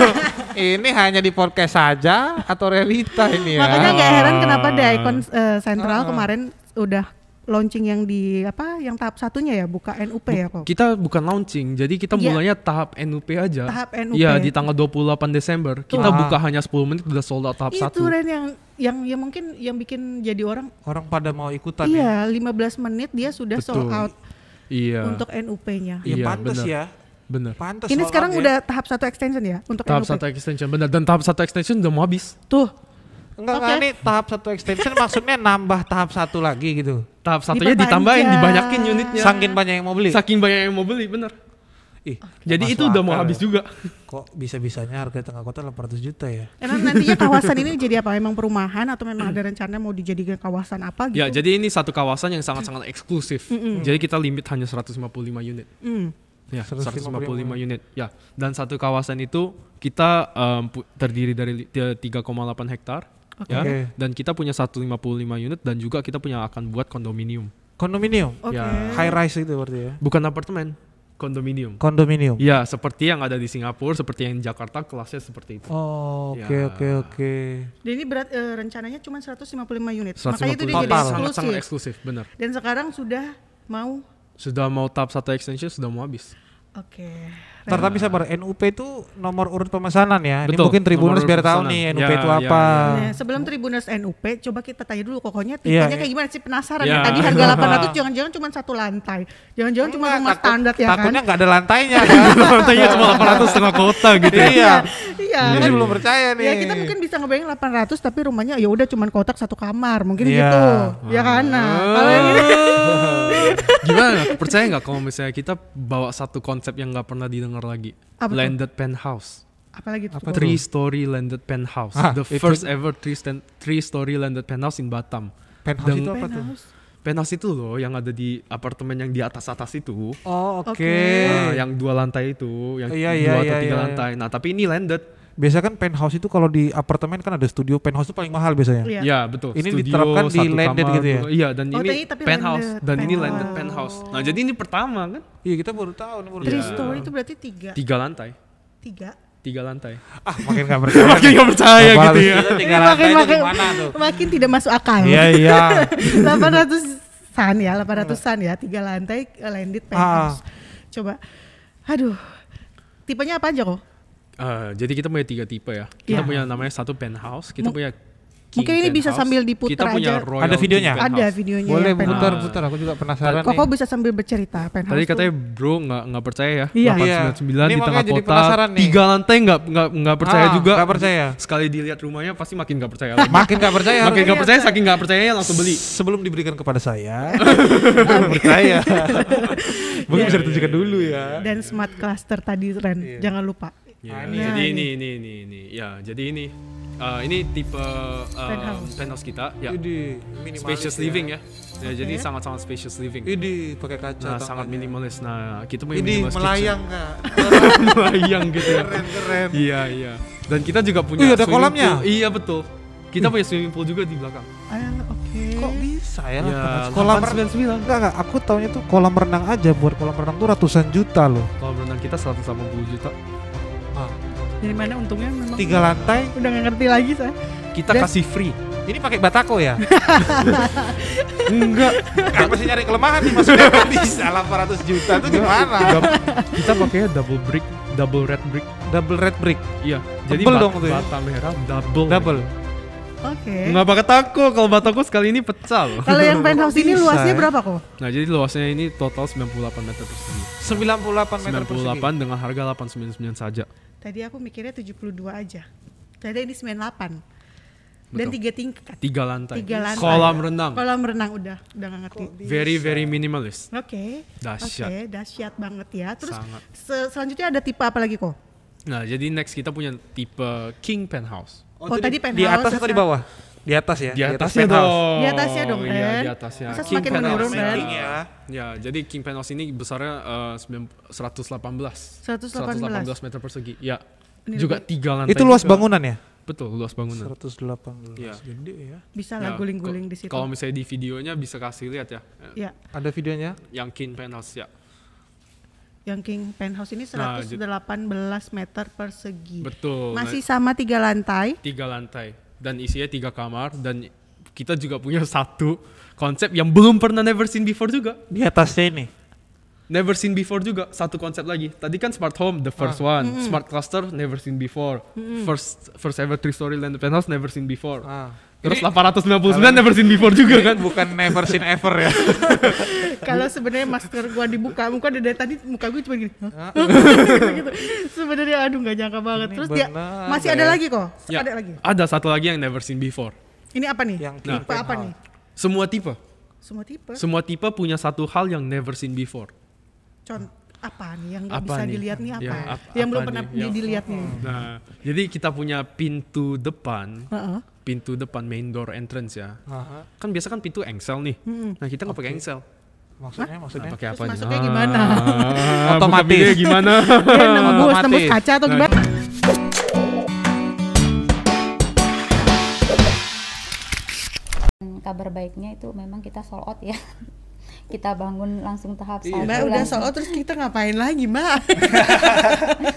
S2: Oh. [laughs] ini hanya di podcast saja atau realita ini ya?
S3: Makanya nggak heran kenapa di
S1: Ah.
S3: Icon eh,
S2: Ah.
S3: Central kemarin udah launching yang di apa yang tahap satunya ya buka NUP ya kok.
S1: Kita bukan launching, jadi kita
S3: Iya.
S1: mulanya tahap NUP aja.
S3: Tahap NUP.
S1: Iya, di tanggal 28 Desember. Kita
S2: Ah.
S1: buka hanya 10 menit udah sold out tahap 1.
S3: Itu Ren yang yang yang mungkin yang bikin jadi orang
S2: Orang pada mau ikutan ya.
S3: iya 15 menit dia sudah sold
S1: Betul.
S3: out
S1: Iya.
S3: untuk NUP-nya.
S2: Ya
S1: Iya,
S2: pantas
S1: benar.
S2: ya.
S1: bener.
S2: Pantas.
S3: Ini
S2: soal
S3: sekarang
S2: ya.
S3: udah tahap satu extension ya untuk
S1: Tahap
S3: NUP.
S1: satu extension bener dan tahap satu extension udah mau habis.
S3: Tuh,
S2: Enggak, enggak
S3: Oke.
S2: ini tahap satu extension [laughs] maksudnya nambah tahap satu lagi gitu.
S1: Tahap satunya
S3: Diperpanjang.
S1: ditambahin, dibanyakin
S3: Ya.
S1: unitnya.
S2: Saking banyak yang mau beli.
S1: Saking banyak yang mau beli, bener.
S2: Ih,
S1: Jadi
S2: masuk
S1: itu udah mau
S2: akal
S1: habis
S2: ya.
S1: juga.
S2: Kok bisa-bisanya harga tengah kota 800 juta ya?
S3: emang nantinya kawasan ini jadi apa? Emang perumahan atau memang ada rencana mau dijadikan kawasan apa gitu?
S1: Ya, jadi ini satu kawasan yang sangat-sangat eksklusif. Jadi kita limit hanya 155 unit.
S3: Mm.
S1: Ya,
S2: 155
S1: 155 unit. Ya, dan satu kawasan itu kita em, pu- terdiri dari li- tiga- 3,8 hektar.
S3: Oke.
S1: Ya,
S2: Oke.
S1: dan kita punya 155 unit dan juga kita punya akan buat kondominium.
S2: Kondominium.
S3: Oke.
S1: Ya.
S2: High rise itu berarti ya.
S1: Bukan apartemen, kondominium.
S2: Kondominium.
S3: Iya.
S1: Ya, seperti yang ada di Singapura, seperti yang di Jakarta kelasnya seperti itu.
S2: Oh, oke
S1: Ya.
S2: oke oke.
S3: Dan ini berat eh, rencananya cuma 155 unit.
S1: 150
S3: Makanya itu dia jadi
S2: Total.
S1: sangat sangat
S3: eksklusif.
S1: eksklusif, benar.
S3: Dan sekarang sudah mau
S1: Sudah mau tahap satu extension sudah mau habis.
S3: Oke. Ya.
S2: Ntar tapi sabar, NUP itu nomor urut pemesanan ya. Ini
S1: Betul,
S2: mungkin Tribuners
S1: nomor urut
S2: biar tahu
S1: pemesanan.
S2: nih NUP
S1: Ya,
S2: itu
S1: ya,
S2: apa.
S3: Nah, sebelum Tribuners NUP, coba kita tanya dulu kokohnya
S2: Iya,
S3: tipenya kayak gimana sih penasaran
S1: Iya.
S3: ya. Tadi harga 800 jangan-jangan cuma satu lantai. Jangan-jangan cuma
S2: Enggak,
S3: rumah
S2: takut-
S3: standar ya kan.
S2: Takutnya nggak ada lantainya kan.
S1: Lantainya cuma 800 setengah kota gitu ya.
S2: iya.
S3: [laughs] Iya.
S2: Ini belum percaya nih.
S3: Ya kita mungkin bisa ngebayangin 800 tapi rumahnya ya udah cuman kotak satu kamar, mungkin
S2: Iya.
S3: gitu. Ya kan. Nah, kalau yang ini
S1: [laughs] Gimana? Percaya nggak kalau misalnya kita bawa satu konsep yang nggak pernah didengar lagi?
S3: Apa tuh?
S1: landed penthouse.
S3: apalagi tuh.
S2: Apa
S3: Koko?
S1: Three story landed penthouse.
S2: Hah,
S1: The
S2: itu-
S1: first ever three, stan- three story landed penthouse in Batam.
S2: penthouse
S1: Deng-
S2: itu apa tuh?
S3: Penthouse.
S1: Penthouse itu loh yang ada di apartemen yang di atas-atas itu.
S2: Oh, oke.
S3: Oke.
S1: Nah, yang dua lantai itu, yang
S2: Iya, iya,
S1: dua atau
S2: iya,
S1: tiga
S2: iya.
S1: lantai. Nah, tapi ini landed.
S2: Biasa kan penthouse itu kalau di apartemen kan ada studio penthouse itu paling mahal biasanya.
S3: Iya.
S1: Ya, betul.
S2: Ini diterapkan di
S1: satu
S2: landed
S1: kamar,
S2: gitu ya?
S1: dua- Iya, dan
S3: Oh,
S1: ini
S3: tadi tapi
S1: penthouse
S3: landed,
S1: dan ini
S3: penthouse.
S1: landed penthouse. Nah, jadi ini pertama kan?
S2: Iya kita baru tahu nih baru
S3: Three
S2: tahu.
S3: story itu berarti tiga.
S1: Tiga lantai.
S3: Tiga.
S1: Tiga lantai.
S2: Ah makin nggak percaya.
S1: [laughs] Makin nggak percaya Iya, gitu ya.
S2: Tiga
S3: Ini
S2: lantai itu
S3: Iya, makin,
S2: di mana
S3: makin, [laughs]
S2: tuh?
S3: makin tidak masuk akal.
S2: Iya
S3: [laughs]
S2: iya.
S3: 800-an ya, 800-an ya, tiga lantai eh,
S2: Ah,
S3: landed penthouse. Coba, aduh, tipenya apa aja kok?
S1: Eh, jadi kita punya tiga tipe ya. Kita
S3: Iya.
S1: punya namanya satu penthouse, kita
S3: Mu-
S1: punya king
S3: mungkin ini bisa
S1: penthouse,
S3: sambil diputar
S1: kita punya
S3: aja.
S1: Royal
S2: Ada
S1: king
S2: videonya?
S1: penthouse.
S3: Ada videonya.
S2: Boleh
S3: yang Iya, penthouse.
S2: putar putar aku juga penasaran
S3: Koko
S2: nih.
S3: bisa sambil bercerita penthouse.
S1: Tadi
S3: tuh.
S1: katanya bro nggak nggak percaya ya.
S3: Iya.
S1: 899
S2: Ini
S1: di
S2: makanya
S1: tengah
S2: jadi
S1: kota.
S2: penasaran nih.
S1: Tiga lantai nggak nggak nggak percaya
S2: Ah,
S1: juga.
S2: nggak percaya.
S1: Sekali dilihat rumahnya pasti makin nggak percaya
S2: [laughs]
S1: lagi.
S2: Makin nggak percaya.
S1: makin nggak
S2: harusnya.
S1: percaya Iya. saking nggak percayanya langsung beli.
S2: Sebelum diberikan kepada saya, [laughs] baru percaya. Mungkin bisa ditunjukkan dulu ya.
S3: dan smart cluster tadi Ren,
S2: Iya.
S3: jangan lupa.
S1: Ya,
S2: Ah,
S1: ini, jadi
S3: ini. Nah,
S1: ini ini ini ini ya jadi ini eh, ini tipe eh,
S3: Penthouse.
S1: penthouse kita ya
S2: Ini minimalis
S1: spacious living ya. Ya, jadi sangat-sangat spacious living.
S2: Ini pakai
S1: Nah,
S2: kaca. tangannya.
S1: sangat minimalis. Nah, kita punya
S2: Iya. Ini
S1: minimalis kitchen.
S2: melayang kak.
S1: [laughs] melayang gitu ya.
S2: Keren keren.
S1: Iya, iya. Dan kita juga punya
S2: Wih, ada
S1: swimming
S2: kolamnya.
S1: pool. Iya, betul. Kita punya swimming pool juga di belakang.
S3: Ah, Oke.
S2: Kok bisa
S1: Ya,
S2: ya? lah kolam renang.
S1: 899.
S2: Enggak enggak, aku taunya tuh kolam renang aja buat kolam renang tuh ratusan juta loh.
S1: Kolam renang kita 180 juta.
S2: Ah.
S3: Dari mana untungnya memang?
S2: Tiga lantai.
S3: Udah nggak ngerti lagi saya.
S1: Kita
S3: Dan-
S1: kasih free.
S2: Ini pakai batako [laughs] ya?
S1: Enggak.
S2: Kan masih nyari kelemahan nih maksudnya [laughs] kan bisa 800 juta tuh gimana?
S1: Dab- kita pakainya double brick, double red brick.
S2: Double red brick,
S1: Iya. Jadi
S2: Tebel
S1: bat-
S2: dong tuh ya.
S1: bata merah double.
S2: double.
S3: Oke.
S1: Nggak pakai tako kalau bataku sekali ini pecah loh.
S3: Kalau yang penthouse ini
S2: Bisa,
S3: luasnya
S2: ya?
S3: berapa kok?
S1: [laughs] Nah, jadi luasnya ini total 98 meter persegi.
S2: 98 meter persegi.
S1: 98 dengan harga 899 saja.
S3: Tadi aku mikirnya 72 aja. Ternyata ini 98. Dan
S1: Betul.
S3: tiga tingkat.
S1: Tiga lantai.
S3: Tiga lantai.
S1: Kolam renang.
S3: Kolam renang udah, udah nggak ngerti.
S1: Very very minimalis.
S3: Oke.
S1: Dahsyat.
S3: Oke, dahsyat banget ya. Terus
S1: Sangat.
S3: se- selanjutnya ada tipe apa lagi kok?
S1: Nah, jadi next kita punya tipe king penthouse.
S3: Oh,
S2: itu di-
S3: tadi penthouse,
S2: Di atas atau di
S3: sekarang-
S2: bawah? Di atas ya.
S1: Di atasnya dong.
S3: Di atasnya dong,
S1: Iya,
S3: Ren.
S1: di atasnya.
S3: Masa
S1: King
S3: semakin
S1: penthouse.
S3: menurun, Ren?
S2: King ya.
S1: Ya, jadi king penthouse ini besarnya eh, 9 118.
S3: 118.
S1: 118 meter persegi. Ya.
S3: Ini
S1: juga
S3: lebih-
S1: tiga lantai.
S2: Itu luas
S1: juga.
S2: bangunan ya?
S1: Betul, luas bangunan.
S2: 118
S1: Iya.
S2: gede ya.
S3: Bisa
S1: Ya,
S3: lah guling-guling di situ.
S1: Kalau misalnya di videonya bisa kasih lihat ya.
S3: Ya,
S2: Ada videonya?
S1: Yang King Penthouse ya.
S3: Iya. yang King Penthouse ini
S1: Nah,
S3: 118 meter persegi.
S1: Betul.
S3: Masih sama tiga lantai.
S1: tiga lantai dan isinya tiga kamar dan kita juga punya satu konsep yang belum pernah never seen before juga
S2: Di atasnya ini.
S1: never seen before juga satu konsep lagi tadi kan smart home the first
S3: Ah.
S1: one smart cluster never seen before first first ever three story land penthouse never seen before
S2: Ah.
S1: terus 899 never seen before juga kan
S2: Bukan never seen ever ya.
S3: Kalau sebenarnya masker gua dibuka, muka dari dari tadi muka gue cuma gini. "Hah?" [laughs] gitu. Sebenarnya aduh nggak nyangka banget.
S2: Ini
S3: Terus dia
S2: benar,
S3: masih ada
S2: ya.
S3: lagi kok.
S1: Ya,
S3: Ada lagi.
S1: ada satu lagi yang never seen before
S3: Ini apa nih?
S2: Yang
S3: tipe
S2: King
S3: apa
S2: Penthouse.
S3: nih?
S1: semua tipe
S3: Semua tipe.
S1: semua tipe punya satu hal yang never seen before
S3: Contoh apa nih yang nggak
S1: Apa
S3: bisa
S1: nih?
S3: dilihat nih apa?
S1: Ya, ap-
S3: yang
S1: apa
S3: belum pernah
S1: nih? Ya.
S3: dilihat nih.
S1: nah jadi kita punya pintu depan
S3: Heeh.
S1: pintu depan main door entrance ya
S2: Aha.
S1: kan biasa kan pintu engsel nih. Nah kita nggak pakai engsel.
S2: Maksudnya maksudnya
S1: Nah, pakai
S3: Eh, Terus
S1: apa? nih?
S3: masuknya
S1: Ah,
S3: gimana? [laughs]
S1: buka
S2: Otomatis.
S1: pintunya gimana?
S3: Dia nama gue
S2: Otomatis.
S3: Kan tembus kaca atau
S1: Nah,
S3: gimana?
S5: Dan kabar baiknya itu memang kita sold out ya [laughs] kita bangun langsung tahap
S2: Iya.
S5: satu
S3: Mbak udah
S5: langsung-
S3: soal terus kita ngapain lagi Mbak?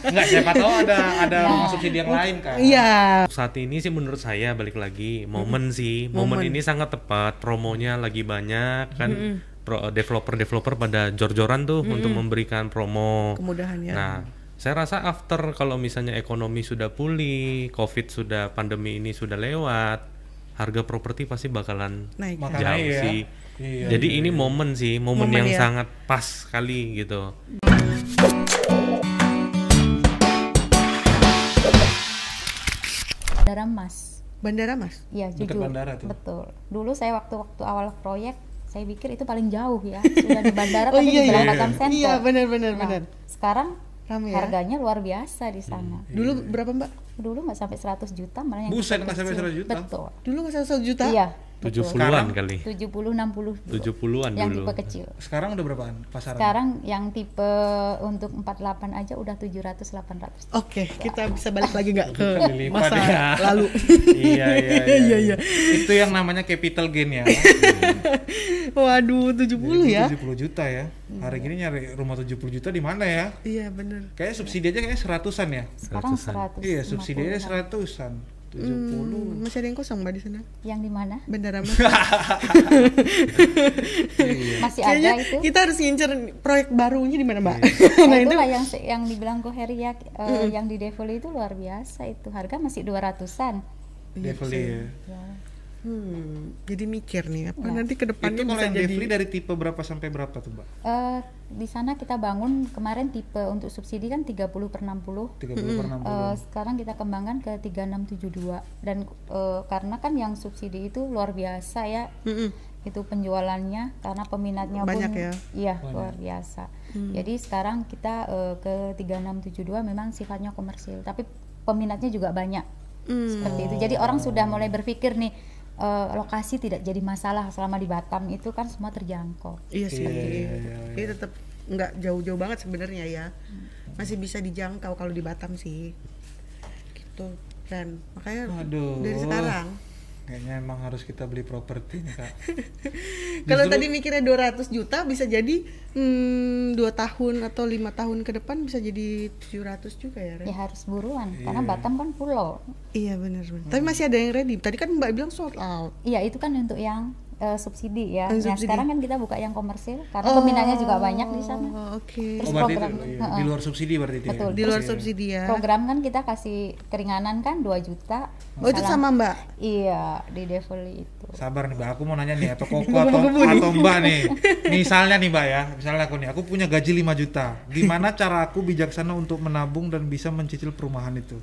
S6: Enggak siapa tahu ada ada
S5: Nah.
S6: masuk subsidi yang lain kan.
S3: Iya.
S6: Saat ini sih menurut saya balik lagi momen sih. Momen, ini sangat tepat. Promonya lagi banyak kan. Pro- developer-developer pada jor-joran tuh untuk memberikan promo.
S3: Kemudahannya.
S6: Nah, saya rasa after kalau misalnya ekonomi sudah pulih, Covid sudah pandemi ini sudah lewat, harga properti pasti bakalan
S3: Naik. kan?
S2: Maka-
S6: jauh
S2: Makanya ya.
S6: sih.
S2: Iya,
S6: Jadi ini momen sih, momen,
S3: Momen
S6: yang
S3: ya.
S6: sangat pas sekali gitu.
S5: bandara mas
S3: Bandara Mas.
S5: ya
S2: Dekat
S5: jujur
S2: bandara tuh.
S5: betul dulu saya waktu waktu awal proyek saya pikir itu paling jauh
S3: [laughs]
S5: ya sudah di bandara
S3: Oh,
S5: tapi
S3: iya,
S5: di
S3: iya.
S5: Batam Center
S3: Iya, benar, benar,
S5: Nah,
S3: benar.
S5: sekarang
S3: Rame ya?
S5: harganya luar biasa di sana
S3: Dulu
S2: Iya.
S3: berapa Mbak?
S5: dulu nggak sampai 100 juta malah yang
S2: Hmm. Buset,
S5: kecil-kecil.
S2: nggak sampai 100 juta?
S5: betul
S3: Dulu nggak satu juta?
S5: iya betul.
S6: 70-an kali.
S5: 70 60 dulu.
S6: 70-an
S5: yang
S6: dulu.
S5: tipe kecil
S2: sekarang udah berapaan pasaran?
S5: sekarang yang tipe untuk 48 aja udah 700 800
S3: Oke, kita bisa balik lagi nggak ke
S2: Dilipat
S3: Iya, masa
S2: ya. [laughs]
S3: lalu? [laughs]
S2: iya, iya, iya, iya. Itu yang namanya capital gain ya.
S3: Waduh, 70 ya?
S2: 70 juta ya. Hari gini nyari rumah 70 juta di mana ya?
S3: Iya bener.
S2: Kayaknya subsidi aja kayaknya seratusan ya.
S5: sekarang 100
S2: Iya, subsidi aja seratusan. 70.
S3: Hmm, masih ada yang kosong mbak di sana?
S5: yang di mana
S3: Bandara mas.
S5: masih ada
S3: Kayaknya
S5: itu
S3: kita harus ngincer proyek barunya di mana mbak?
S2: Iya.
S3: [laughs]
S5: nah,
S3: ya.
S5: itulah yang se- yang dibilang Go Heri ya, eh, yang di Devoli itu luar biasa itu harga masih 200-an
S3: iya
S2: Devli ya.
S3: Hmm, jadi mikir nih
S5: Iya.
S3: apa nanti
S2: Itu
S3: kedepannya
S2: kalau
S3: bisa
S2: yang
S3: jadi
S2: Devli dari tipe berapa sampai berapa tuh, Mbak?
S5: Eh, di sana kita bangun kemarin tipe untuk subsidi kan 30 per 60
S2: 30
S3: Hmm,
S2: per
S5: Eh, sekarang kita kembangkan ke 3672 dan eh, karena kan yang subsidi itu luar biasa ya
S3: Mm-mm.
S5: itu penjualannya karena peminatnya
S3: Banyak
S5: pun
S3: ya? Hmm.
S5: iya luar biasa jadi sekarang kita eh, ke 3672 memang sifatnya komersil tapi peminatnya juga banyak
S3: Hmm.
S5: seperti itu jadi orang sudah mulai berpikir nih eh, lokasi tidak jadi masalah selama di Batam itu kan semua terjangkau
S3: Iya sih.
S2: Iya, iya, iya,
S3: Jadi tetap nggak jauh-jauh banget sebenarnya ya. Masih bisa dijangkau kalau di Batam sih. Gitu. Dan makanya
S2: Aduh.
S3: eh, dari sekarang.
S2: Kayaknya emang harus kita beli properti nih, Kak.
S3: Kalau tadi mikirnya 200 juta bisa jadi hmm, 2 tahun atau lima tahun ke depan bisa jadi 700 juga ya, Ren?
S5: ya harus buruan karena Batam kan pulau
S3: Iya benar
S2: Hmm.
S3: benar. Tapi masih ada yang ready. Tadi kan Mbak bilang sold out.
S5: Iya itu kan untuk yang eh, subsidi ya.
S3: Yang
S5: Nah,
S3: subsidi.
S5: sekarang kan kita buka yang komersil karena peminatnya juga banyak di sana.
S3: Oh, Oke.
S5: Terus
S2: Oh, berarti itu,
S5: program,
S2: iya.
S5: heeh.
S2: di luar subsidi berarti itu. ya?
S5: Betul.
S3: Di luar subsidi ya.
S5: Program kan kita kasih keringanan kan 2 juta.
S3: Oh itu
S5: Salah-
S3: sama Mbak.
S5: Iya di Devoli itu.
S2: Sabar nih, Mbak. Aku mau nanya nih atau Koko atau, atau Mbak nih. Misalnya nih, Mbak ya. Misalnya aku nih, aku punya gaji 5 juta. Gimana cara aku bijaksana untuk menabung dan bisa mencicil perumahan itu?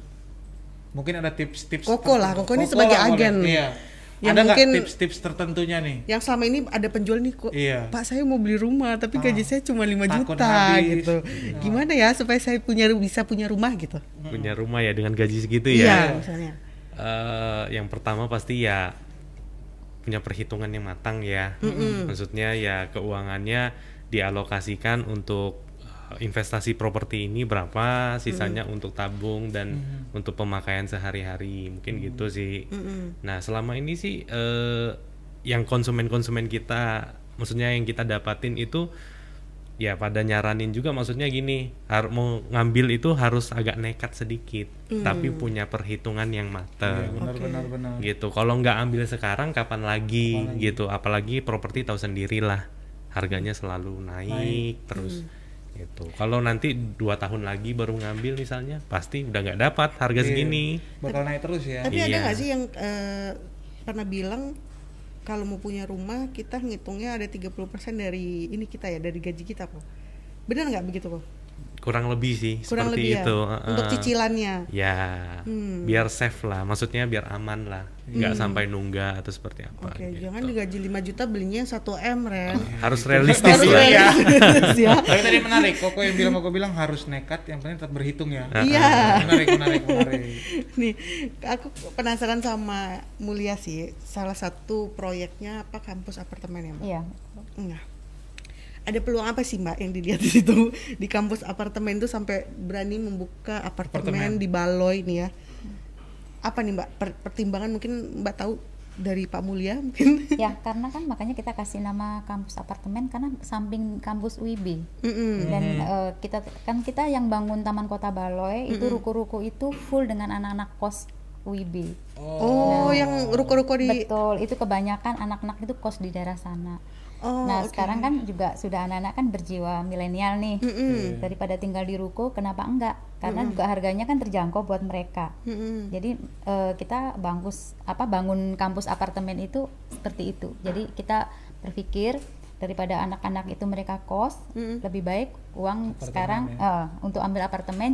S2: Mungkin ada tips-tips
S3: Koko lah,
S2: tertentu.
S3: Koko ini sebagai
S2: lah boleh.
S3: agen.
S2: Iya.
S3: Yang
S2: ada nggak
S3: mungkin-
S2: tips-tips tertentunya nih?
S3: Yang selama ini ada penjual nih kok.
S2: Iya.
S3: Pak saya mau beli rumah tapi
S6: Ah.
S3: gaji saya cuma 5
S2: takut
S3: juta
S2: habis.
S3: gitu.
S6: Iya.
S3: Gimana ya supaya saya punya bisa punya rumah gitu?
S6: Punya rumah ya dengan gaji segitu
S3: Iya.
S6: ya.
S3: misalnya.
S6: Eh, yang pertama pasti ya punya perhitungan yang matang ya. Maksudnya ya keuangannya dialokasikan untuk eh, investasi properti ini berapa, sisanya untuk tabung dan untuk pemakaian sehari-hari. Mungkin gitu sih. Nah, selama ini sih eh, yang konsumen-konsumen kita maksudnya yang kita dapatin itu ya pada nyaranin juga maksudnya gini har mau ngambil itu harus agak nekat sedikit
S3: Hmm.
S6: tapi punya perhitungan
S2: Iya,
S6: yang matang
S3: Iya,
S7: benar benar benar
S6: gitu kalau nggak ambil sekarang kapan lagi, gitu apalagi properti tahu sendirilah harganya selalu naik, terus
S3: Hmm.
S6: gitu kalau nanti dua tahun lagi baru ngambil misalnya pasti udah nggak
S3: Iya.
S6: dapat harga iya, segini
S7: bakal naik terus ya
S6: Tapi
S3: Tapi ada
S6: ada Iya. nggak
S3: nggak
S6: sih
S3: sih yang eh, pernah bilang kalau mau punya rumah kita ngitungnya ada 30% dari ini kita ya dari gaji kita kok. Benar nggak begitu kok?
S6: kurang lebih sih
S3: Kurang
S6: seperti
S3: lebih
S6: itu
S3: ya untuk Hmm.
S6: Heeh.
S3: cicilannya.
S6: ya biar safe lah maksudnya biar aman lah nggak sampai nunggak atau seperti apa
S3: Hmm. Oke,
S6: gitu. Iya.
S3: jangan digaji 5 juta belinya 1 M, Ren.
S6: harus realistis
S3: Kan? Harus
S6: [laughs] lah
S3: realistis ya.
S7: tapi tadi menarik koko yang bilang koko bilang harus nekat yang penting tetap berhitung ya
S3: Iya.
S7: menarik menarik menarik
S3: [laughs] Nih, aku penasaran sama Mulia sih. Salah satu proyeknya apa kampus apartemen ya, Mbak?
S5: Iya.
S3: Nah, ada peluang apa sih Mbak yang dilihat di situ di kampus apartemen itu sampai berani membuka apartemen, di Baloi nih ya? Apa nih Mbak per- pertimbangan mungkin Mbak tahu dari Pak Mulia mungkin? [laughs]
S5: Ya, karena kan makanya kita kasih nama kampus apartemen karena samping kampus UIB.
S3: Mm-mm.
S5: Dan eh, kita kan kita yang bangun Taman Kota Baloi itu ruko-ruko itu full dengan anak-anak kos UIB.
S3: Oh, yang ruko-ruko di
S5: Nah. Betul, itu kebanyakan anak-anak itu kos di daerah sana.
S3: Oh,
S5: nah,
S3: oke.
S5: sekarang kan juga sudah anak-anak kan berjiwa milenial nih. Daripada tinggal di ruko, kenapa enggak? Karena juga harganya kan terjangkau buat mereka.
S3: Mm-mm.
S5: Jadi eh, kita bangkus apa bangun kampus apartemen itu seperti itu. Jadi kita berpikir daripada anak-anak itu mereka kos, lebih baik uang sekarang eh, untuk ambil apartemen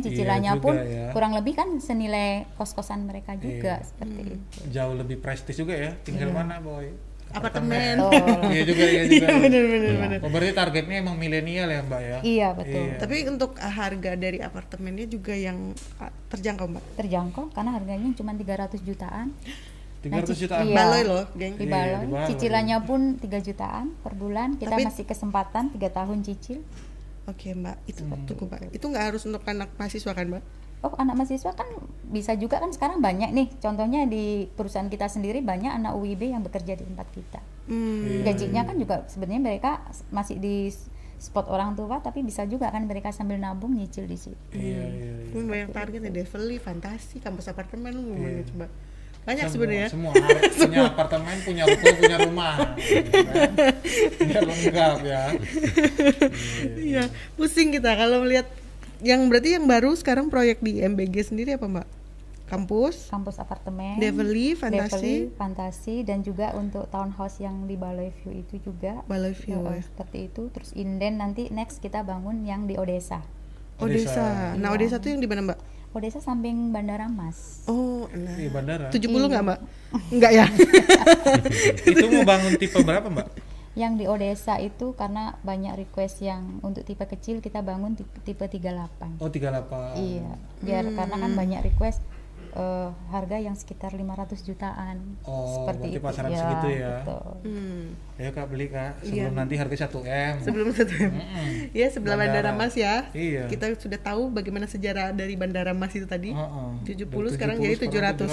S7: ya. Iya
S5: cicilannya
S7: juga
S5: pun
S7: ya. Iya.
S5: kurang lebih kan senilai kos-kosan mereka juga seperti itu.
S7: jauh lebih prestis juga ya tinggal mana boy
S3: Iya. apartemen.
S5: Betul.
S7: [laughs] iya juga iya juga
S3: [laughs] Bener bener bener.
S7: Oh, berarti targetnya emang milenial ya mbak ya
S5: iya betul.
S7: Iya.
S3: Tapi untuk uh, harga dari apartemennya juga yang uh, terjangkau Mbak.
S5: Terjangkau karena harganya cuma 300 jutaan.
S7: 300
S5: Nah,
S7: jutaan
S5: Iya.
S3: Baloi loh, geng.
S5: Di
S7: Iya,
S5: Baloi,
S7: di Baloi.
S5: cicilannya pun 3 jutaan per bulan. Kita
S3: Tapi-
S5: masih kesempatan 3 tahun cicil.
S3: Oke Mbak, itu cukup Mbak. Itu nggak harus untuk anak mahasiswa kan Mbak?
S5: Oh, anak mahasiswa kan bisa juga kan sekarang banyak nih. Contohnya di perusahaan kita sendiri banyak anak UIB yang bekerja di tempat kita.
S3: Hmm.
S7: iya,
S5: Gajinya kan juga sebenarnya mereka masih di spot orang tua tapi bisa juga kan mereka sambil nabung nyicil di situ.
S7: iya iya iya.
S3: Lu banyak targetnya Develi, fantasi, kampus apartemen lu mau mana coba. Banyak
S7: Semua-
S3: sebenarnya.
S7: semua
S3: [laughs]
S7: harus punya apartemen punya ruko punya rumah biar lengkap ya
S3: Iya, pusing kita kalau melihat yang berarti yang baru sekarang proyek di MBG sendiri apa, Mbak? Kampus,
S5: Kampus apartemen,
S3: Develi,
S5: Develi,
S3: fantasi,
S5: fantasi dan juga untuk townhouse yang di Baloi View itu juga.
S3: Balai View.
S5: Oh,
S3: ya.
S5: seperti itu. Terus inden nanti next kita bangun yang di Odesa.
S3: Odesa. Nah, Odesa tuh yang di mana, Mbak?
S5: Odesa samping Bandara Mas.
S3: Oh, nah.
S2: Iya.
S7: di Iya, bandara
S3: 70 nggak,
S5: Iya.
S3: Mbak? Enggak
S5: [laughs]
S3: ya?
S7: itu mau bangun tipe berapa mbak
S5: Yang di Odessa itu karena banyak request yang untuk tipe kecil kita bangun tipe, tipe 38.
S7: oh 38
S5: Iya, biar
S7: Hmm.
S5: karena kan banyak request eh, harga yang sekitar 500 jutaan.
S7: Oh, berarti
S5: seperti itu. Iya,
S7: pasaran segitu ya.
S5: betul.
S3: Hmm.
S7: ayo kak beli kak sebelum nanti harga 1 m
S3: Iya. Sebelum satu Ya, sebelah Bandara,
S7: Bandara.
S3: Mas ya.
S7: Iya.
S3: Kita sudah tahu bagaimana sejarah dari Bandara Mas itu tadi.
S7: Heeh.
S3: 70
S7: Dari
S3: sekarang jadi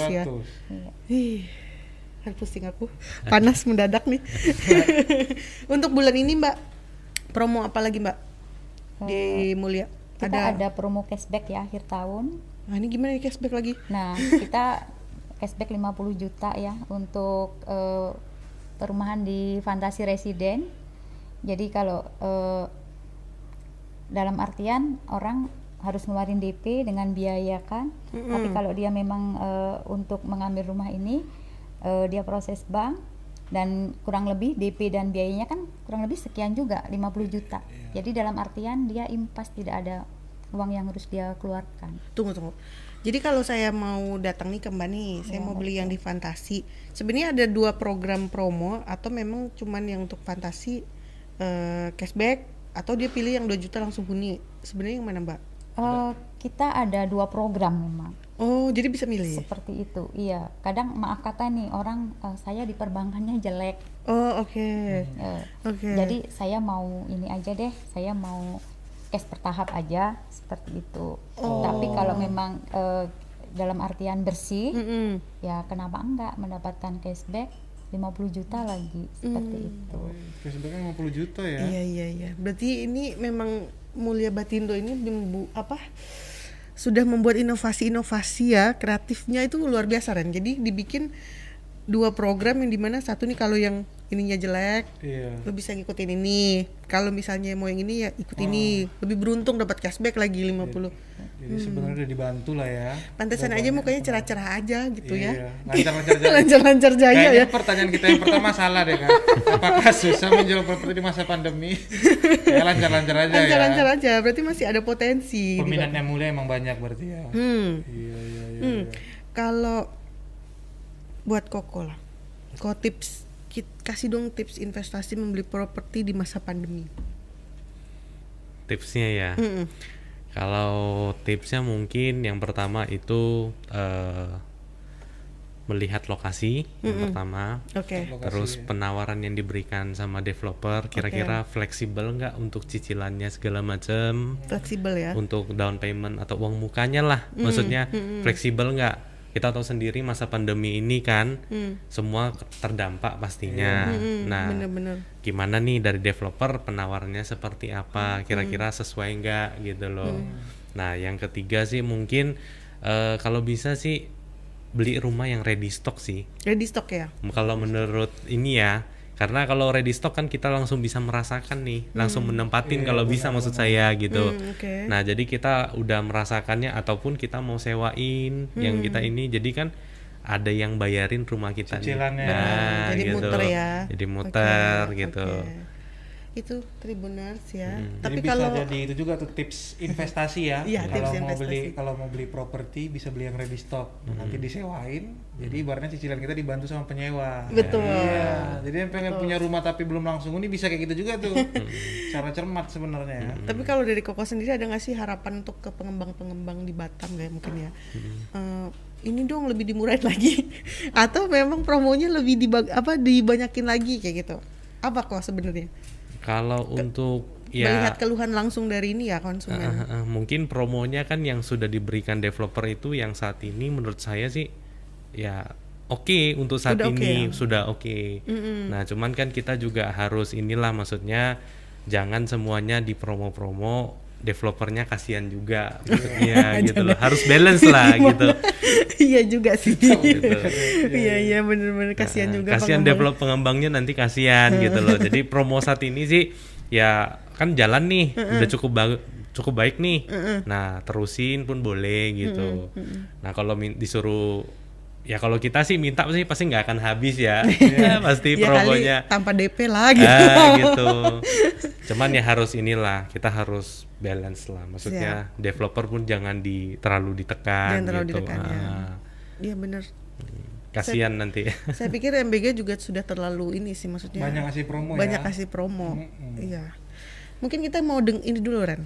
S3: 700, ya.
S7: 700.
S3: Ih, aduh, pusing aku. Panas mendadak
S7: [laughs]
S3: nih. Untuk bulan ini, Mbak, promo apa lagi, Mbak? Di Mulia.
S5: Oh, Kita ada. promo cashback ya akhir tahun.
S3: Nah, ini gimana nih cashback lagi?
S5: Nah, kita cashback 50 juta ya untuk eh, perumahan di Fantasi Residen. Jadi kalau eh, dalam artian orang harus ngeluarin DP dengan biaya kan. Tapi kalau dia memang eh, untuk mengambil rumah ini eh, dia proses bank dan kurang lebih DP dan biayanya kan kurang lebih sekian juga 50 juta. Jadi dalam artian dia impas tidak ada uang yang harus dia keluarkan.
S3: Tunggu, tunggu. Jadi kalau saya mau datang nih ke Mbak nih, saya mau beli yang di Fantasi. Sebenarnya ada dua program promo atau memang cuman yang untuk Fantasi eh, cashback atau dia pilih yang 2 juta langsung huni. Sebenarnya yang mana, Mbak?
S5: Eh, kita ada dua program memang
S3: Oh, jadi bisa milih. ya?
S5: seperti itu iya kadang maaf kata nih orang eh, saya di perbankannya jelek
S3: Oh, oke.
S5: Eh,
S3: Oke.
S5: jadi saya mau ini aja deh saya mau cash bertahap aja seperti itu.
S3: Oh.
S5: Tapi kalau memang eh, dalam artian bersih,
S3: Mm-mm.
S5: ya kenapa enggak mendapatkan cashback 50 juta lagi seperti
S3: Hmm.
S5: itu.
S2: Cashbacknya 50 juta ya.
S3: Iya iya iya. Berarti ini memang Mulia Batindo ini membu apa sudah membuat inovasi-inovasi ya kreatifnya itu luar biasa Ren. Jadi dibikin dua program yang dimana satu nih kalau yang ininya jelek
S2: Iya.
S3: lo bisa ngikutin ini kalau misalnya mau yang ini ya ikut ini
S2: Oh.
S3: lebih beruntung dapat cashback lagi 50
S2: Jadi sebenarnya udah dibantu lah ya.
S3: pantesan aja mukanya cerah-cerah aja gitu
S2: Iya,
S3: ya [laughs]
S2: lancar-lancar aja.
S3: lancar-lancar jaya
S2: Kayaknya
S3: ya
S2: pertanyaan kita yang pertama salah deh kan. Apakah susah menjual properti di masa pandemi? ya lancar-lancar aja
S3: lancar-lancar
S2: ya.
S3: aja berarti masih ada potensi di
S2: Peminatnya mulai emang banyak berarti ya.
S3: Hmm.
S2: Iya iya iya.
S3: Hmm. Kalau buat Koko lah, kok tips kit- kasih dong tips investasi membeli properti di masa pandemi.
S6: tipsnya ya
S3: Mm-mm.
S6: kalau tipsnya mungkin yang pertama itu eh, melihat lokasi yang pertama
S3: Oke.
S2: Lokasi
S6: terus
S2: ya.
S6: penawaran yang diberikan sama developer kira-kira fleksibel nggak untuk cicilannya segala macam
S3: Fleksibel ya.
S6: untuk down payment atau uang mukanya lah maksudnya fleksibel nggak kita tahu sendiri masa pandemi ini kan
S3: Hmm,
S6: semua terdampak pastinya nah
S3: Bener-bener.
S6: gimana nih dari developer penawarannya seperti
S3: Hmm.
S6: apa kira-kira sesuai nggak gitu loh nah yang ketiga sih mungkin eh, kalau bisa sih beli rumah yang ready stock sih
S3: Ready stock ya.
S6: kalau menurut ini ya karena kalau ready stock kan kita langsung bisa merasakan nih langsung menempatin
S3: Iya,
S6: kalau bisa maksud saya gitu
S3: Hmm, Oke.
S6: Nah, jadi kita udah merasakannya ataupun kita mau sewain yang kita
S3: Hmm.
S6: ini jadi kan ada yang bayarin rumah kita nih.
S2: Cicilannya.
S6: Nah,
S3: Jadi
S6: gitu.
S3: muter ya.
S6: Jadi muter
S3: Oke,
S6: gitu. Hmm.
S3: oke. Itu tribuners ya.
S2: Tapi
S3: Tapi
S2: bisa
S3: kalau
S2: jadi itu juga tuh tips investasi ya.
S3: Iya, tips
S2: kalau mau
S3: investasi.
S2: beli kalau mau beli properti bisa beli yang ready stock. Nah, Nanti disewain. Jadi ibaratnya cicilan kita dibantu sama penyewa.
S3: Betul.
S2: Iya. Jadi yang pengen punya rumah tapi belum langsung ini bisa kayak gitu juga tuh. Cara cermat sebenarnya ya.
S3: Tapi kalau dari Koko sendiri ada nggak sih harapan untuk ke pengembang-pengembang di Batam kayak mungkin ya? Eh, ini dong lebih dimurahin [laughs] lagi atau memang promonya lebih dibag- apa dibanyakin lagi kayak gitu? Apa kok sebenarnya?
S6: Kalau untuk
S3: Melihat
S6: ya
S3: keluhan langsung dari ini ya
S6: eh,
S3: konsumen.
S6: eh, eh, mungkin promonya kan yang sudah diberikan developer itu yang saat ini menurut saya sih ya oke untuk saat
S3: Sudah oke
S6: ini
S3: ya.
S6: sudah oke. Nah, cuman kan kita juga harus inilah maksudnya jangan semuanya di promo-promo developernya kasihan juga
S3: [laughs]
S6: maksudnya gitu loh. Harus balance lah gitu.
S3: [laughs] Iya juga
S6: [laughs]
S3: sih.
S6: Gitu.
S3: [laughs] Iya iya bener-bener kasihan
S6: Nah,
S3: juga.
S6: kasihan
S3: pengembang.
S6: develop pengembangnya nanti kasihan gitu loh jadi promo saat ini sih ya kan jalan nih udah cukup ba- cukup baik nih nah terusin pun boleh gitu nah kalau min- disuruh ya kalau kita sih minta sih pasti nggak akan habis
S3: [laughs]
S6: ya pasti
S3: Ya kali
S6: promonya
S3: tanpa DP lagi.
S6: Ah, gitu. Cuman ya harus inilah kita harus balance lah. Maksudnya developer pun jangan di terlalu
S3: Jangan
S6: ditekan
S3: terlalu
S6: gitu.
S3: ditekan, ya.
S6: Ah,
S3: [laughs] Iya bener.
S6: kasihan nanti.
S3: Saya pikir MBG juga sudah terlalu ini sih maksudnya.
S2: Banyak kasih promo ya.
S3: banyak kasih promo. Iya. Mungkin kita mau deng ini dulu Ren.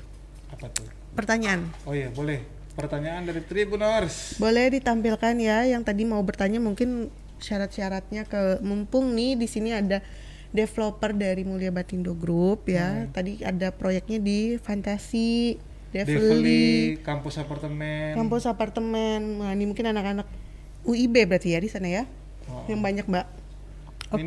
S2: Apa tuh?
S3: Pertanyaan.
S2: Oh iya, boleh. Pertanyaan dari Tribuners.
S3: Boleh ditampilkan ya yang tadi mau bertanya mungkin syarat-syaratnya ke mumpung nih di sini ada developer dari Mulia Batindo Group ya. Tadi ada proyeknya di Fantasi Develi,
S2: Develi, kampus apartemen.
S3: Ya, kampus apartemen. Nah, ini mungkin anak-anak UIB berarti ya di sana ya. Yang banyak, Mbak. Oke.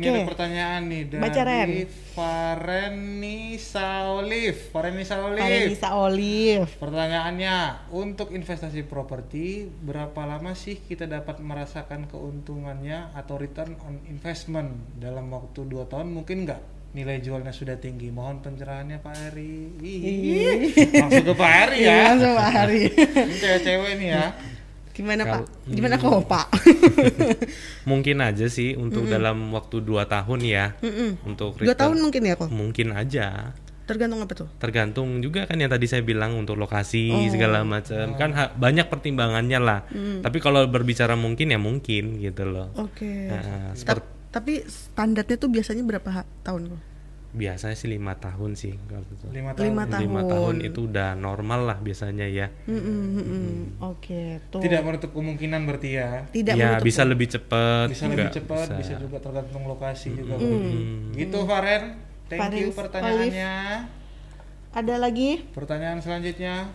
S2: Oh. Ini ada pertanyaan nih dari
S3: Baca, Ren.
S2: Fareni Saolif. Fareni Saolif.
S3: Parenisa Olive.
S2: Pertanyaannya, untuk investasi properti, berapa lama sih kita dapat merasakan keuntungannya atau return on investment dalam waktu 2 tahun? Mungkin nggak? Nilai jualnya sudah tinggi. Mohon pencerahannya Pak Eri. Ih, Langsung ke Pak Eri ya.
S3: Iya, langsung Pak Ari.
S2: [laughs] Ini cewek-cewek nih ya.
S3: Gimana, Pak?
S6: Kalau-
S3: Gimana kok,
S6: [laughs]
S3: Pak?
S6: mungkin aja sih untuk dalam waktu 2 tahun ya untuk
S3: Dua
S6: return.
S3: tahun mungkin ya, kok?
S6: mungkin aja
S3: Tergantung apa tuh?
S6: tergantung juga kan yang tadi saya bilang untuk lokasi
S3: Oh.
S6: segala macam kan ha- banyak pertimbangannya lah tapi kalau berbicara mungkin ya mungkin gitu loh
S3: Oke. Ta-
S6: Nah, seperti
S3: tapi standarnya tuh biasanya berapa ha- tahun?
S6: biasanya sih lima tahun sih kalau itu.
S2: 5 tahun.
S3: Lima tahun.
S6: Lima tahun itu udah normal lah biasanya ya
S3: Mm-mm, mm-mm. Oke, tuh.
S2: Tidak menutup kemungkinan berarti ya.
S3: Tidak
S6: ya
S3: menutup
S6: bisa lebih cepet
S2: Bisa lebih
S6: juga
S2: cepat,
S6: Eh, bisa.
S2: bisa. juga tergantung lokasi juga. Gitu Faren. Thank
S3: Faren
S2: you pertanyaannya.
S3: Saolif. Ada lagi?
S2: Pertanyaan selanjutnya.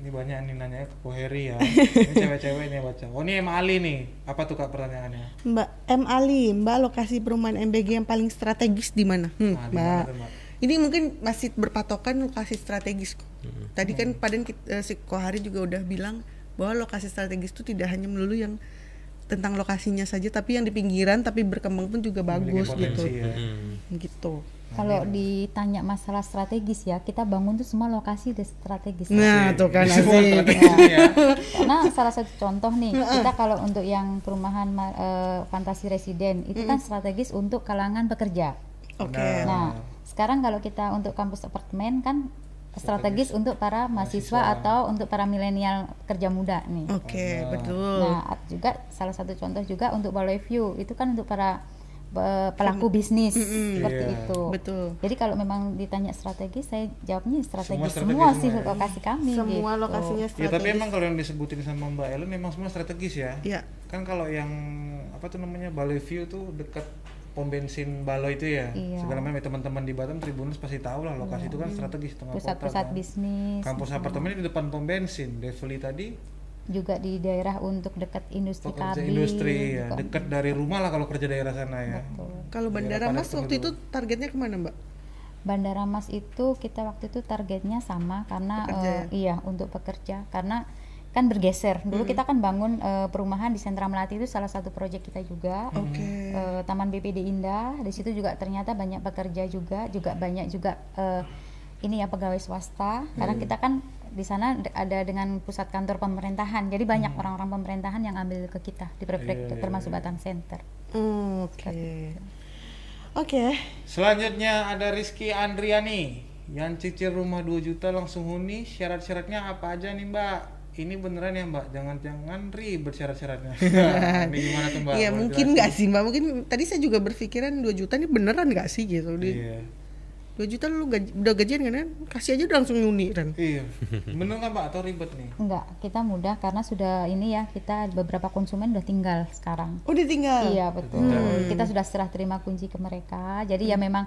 S2: Ini banyak nih nanya ke Bu
S3: [laughs]
S2: Heri ya. Ini cewek-cewek nih yang baca. Oh ini Em Ali nih. Apa tuh kak pertanyaannya?
S3: Mbak M Ali, Mbak lokasi perumahan MBG yang paling strategis di mana? Hmm,
S2: Nah, di mana
S3: Mbak.
S2: tuh, Mbak?
S3: Ini mungkin masih berpatokan lokasi strategis. kok.
S2: Hmm.
S3: Tadi kan Padan kit- eh, si Kohari juga udah bilang bahwa lokasi strategis itu tidak hanya melulu yang tentang lokasinya saja, tapi yang di pinggiran tapi berkembang pun juga
S2: Memiliki
S3: bagus gitu.
S2: potensi ya.
S6: Hmm.
S3: Gitu.
S5: Kalau ditanya masalah strategis ya, kita bangun tuh semua lokasi di strategis.
S3: Nah, tuh kan
S2: Semua
S3: asik. [laughs]
S2: strategis ya.
S5: Karena salah satu contoh nih, kita kalau untuk yang perumahan ma- eh, fantasi residen itu kan strategis untuk kalangan pekerja.
S3: Oke.
S5: Nah, sekarang kalau kita untuk kampus apartemen kan strategis untuk para mahasiswa atau untuk para milenial kerja muda nih.
S3: Oke, betul.
S5: Nah, at- juga salah satu contoh juga untuk Baloi View itu kan untuk para eh, pelaku bisnis seperti
S2: Iya,
S5: itu.
S3: betul.
S5: Jadi kalau memang ditanya strategis, saya jawabnya strategis
S2: strategis
S5: semua,
S2: semua
S5: sih
S2: ya.
S5: lokasi kami.
S3: Semua
S5: gitu.
S3: lokasinya strategis.
S2: Ya tapi emang kalau yang disebutin sama Mbak Ellen memang semua strategis ya.
S3: Iya.
S2: Kan kalau yang apa tuh namanya Baloi View tuh dekat pom bensin Baloi itu ya.
S5: Iya.
S2: Segala macam ya, teman-teman di Batam Tribunus pasti tahu lah lokasi
S3: Iya.
S2: itu kan strategis tengah kota.
S5: Pusat-pusat
S2: kan.
S5: bisnis
S2: Kampus apartemen di depan pom bensin. Devli tadi
S5: juga di daerah untuk dekat industri
S2: pekerja
S5: kabin.
S2: Oh, industri ya,
S5: juga.
S2: dekat dari rumah lah kalau kerja daerah sana ya.
S3: Kalau Bandara Mas waktu itu targetnya kemana, Mbak?
S5: Bandara Mas itu kita waktu itu targetnya sama karena
S3: Pekerja ya?
S5: eh, iya untuk pekerja karena kan bergeser. Dulu kita kan bangun eh, perumahan di Sentra Melati itu salah satu proyek kita juga.
S3: Oke.
S5: Eh, Taman BPD Indah, di situ juga ternyata banyak pekerja juga, juga banyak juga eh, ini ya pegawai swasta. Karena kita kan di sana d- ada dengan pusat kantor pemerintahan. Jadi banyak orang-orang pemerintahan yang ambil ke kita
S3: Iya,
S5: di prefektur termasuk Batam Center.
S3: Hmm, Oke. Oke.
S2: Selanjutnya ada Rizky Andriani yang cicil rumah 2 juta langsung huni. Syarat-syaratnya apa aja nih Mbak? Ini beneran ya Mbak? Jangan-jangan ribet syarat-syaratnya. [laughs] ini gimana tuh Mbak?
S3: Iya
S2: Boleh
S3: mungkin
S2: jelasin?
S3: nggak sih mbak, mungkin tadi saya juga berpikiran 2 juta ini beneran nggak sih gitu Di-
S2: Iya.
S3: 2 juta lu gaji- udah gajian kan, kan? kasih aja udah langsung nyuni kan
S2: Iya. Bener nggak Mbak atau ribet nih?
S5: Enggak, kita mudah karena sudah ini ya, kita beberapa konsumen udah tinggal sekarang.
S3: Oh ditinggal?
S5: Iya, betul. Kita sudah serah terima kunci ke mereka. Jadi
S2: Hmm.
S5: ya memang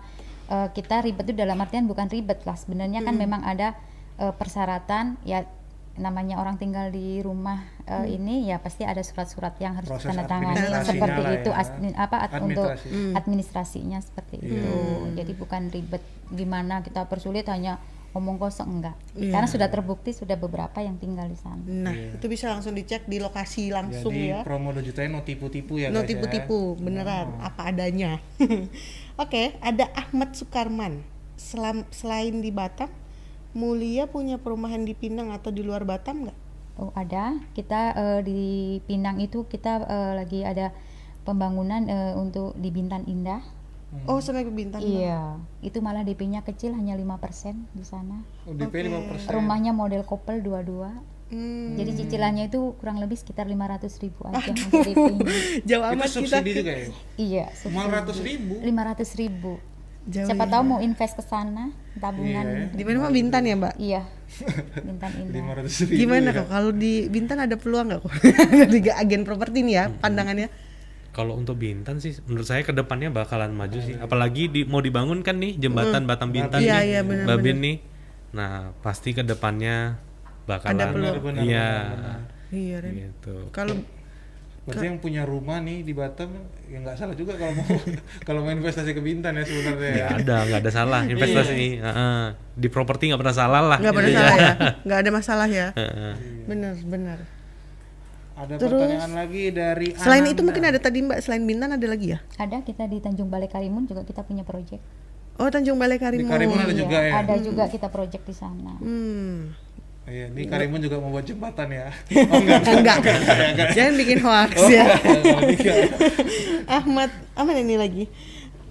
S5: eh, kita ribet itu dalam artian bukan ribet lah. Sebenarnya
S2: Hmm.
S5: kan memang ada eh, persyaratan ya namanya orang tinggal di rumah eh, ini ya pasti ada surat-surat yang harus
S2: Hmm. Proses
S5: ditandatangani
S2: administrasinya
S5: seperti
S2: lah
S5: itu
S2: ya.
S5: admin- apa ad- untuk
S2: Administrasi. Iya.
S5: administrasinya seperti itu. Jadi bukan ribet gimana kita persulit hanya omong kosong enggak. Karena sudah terbukti sudah beberapa yang tinggal di sana.
S3: Nah itu bisa langsung dicek di lokasi langsung
S2: Iya. Jadi
S3: ya
S2: promo 2 jutanya no tipu-tipu ya
S3: No
S2: guys ya. Oh.
S3: tipu-tipu, beneran apa adanya [laughs] Oke, ada Ahmad Sukarman Selam- Selain di Batam, Mulia punya perumahan di Pinang atau di luar Batam nggak?
S5: Oh ada, kita eh, di Pinang itu kita eh, lagi ada pembangunan eh, untuk di Bintan Indah.
S2: Hmm.
S3: Oh sampai ke Bintang
S5: Iya, itu malah DP-nya kecil hanya 5% di sana.
S2: UDP 5%.
S5: Rumahnya model couple dua-dua.
S3: Hmm,
S5: Jadi cicilannya itu kurang lebih sekitar 500 ribu aja untuk DP-nya.
S3: [laughs] Jauh
S2: Itu
S3: amat kita Iya.
S2: subsidi juga ya?
S5: Iya,
S2: Cuma 100
S5: subsidi.
S2: ribu.
S5: 500 ribu.
S3: Jauh
S5: Siapa
S3: ya.
S5: tahu mau invest ke sana tabungan.
S3: Di mana Mbak? Bintan ya Mbak?
S5: Iya.
S2: [laughs]
S5: Bintan Indah.
S2: 500 ribu.
S3: Gimana kok kalau di Bintan ada peluang nggak kok [laughs] dari agen properti nih ya pandangannya?
S6: Kalau untuk Bintan sih, menurut saya kedepannya bakalan maju sih. Apalagi di, mau dibangun kan nih jembatan Batam Bintan
S3: Iya,
S6: nih,
S3: iya, benar,
S6: Babin nih. Nah pasti kedepannya bakalan,
S3: Ada peluang.
S2: Benar, benar,
S6: iya,
S2: benar,
S3: Iya Ren.
S6: gitu.
S3: Kalau
S2: Berarti yang punya rumah nih di Batam ya nggak salah juga kalau mau [laughs] kalau mau investasi ke Bintan ya sebenarnya. ya.
S6: Nggak ada, nggak ada salah investasi. Heeh. Di properti nggak pernah salah
S2: Ah,
S6: lah.
S2: iya.
S3: Iya. nggak pernah
S6: intinya.
S3: salah ya,
S2: [laughs]
S3: nggak ada masalah ya.
S6: Heeh.
S3: Bener bener.
S2: Ada
S3: Terus-
S2: pertanyaan lagi dari
S3: Selain
S2: Ananda.
S3: itu mungkin ada tadi Mbak selain Bintan ada lagi ya?
S5: Ada kita di Tanjung Balai Karimun juga kita punya proyek.
S3: Oh Tanjung Balai
S2: di
S3: Karimun.
S2: Karimun ada
S5: Iya,
S2: juga ya.
S5: Ada juga kita project di sana.
S3: Hmm.
S2: Iya, ini Karimun juga mau buat jembatan
S3: [laughs]
S2: ya. Oh [laughs] enggak.
S3: Eh,
S2: Oh.
S3: Enggak. Jangan bikin hoax
S2: [laughs]
S3: ya. Ahmad, Ahmad ini lagi.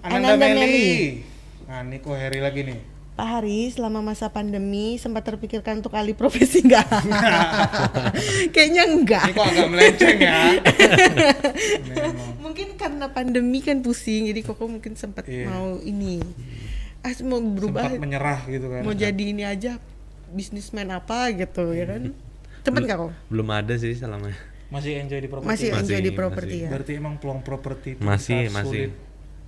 S2: Ananda, Meli. Nah, ini kok Heri lagi nih.
S3: Pak Hari, selama masa pandemi sempat terpikirkan untuk alih profesi
S2: [laughs]
S3: nggak? Kayaknya enggak.
S2: Ini kok agak melenceng ya.
S3: mungkin karena pandemi kan pusing jadi koko mungkin sempat
S2: Iya.
S3: mau ini ah mau berubah
S2: Sempat menyerah gitu kan.
S3: mau jadi ini aja bisnismen apa gitu ya
S2: [laughs]
S3: kan cepet nggak kok
S6: Belum ada sih selama.
S2: Masih enjoy di properti.
S3: masih,
S6: Masih,
S3: enjoy di properti ya
S2: Berarti emang peluang properti itu
S6: Masih,
S2: kita
S6: masih.
S2: sulit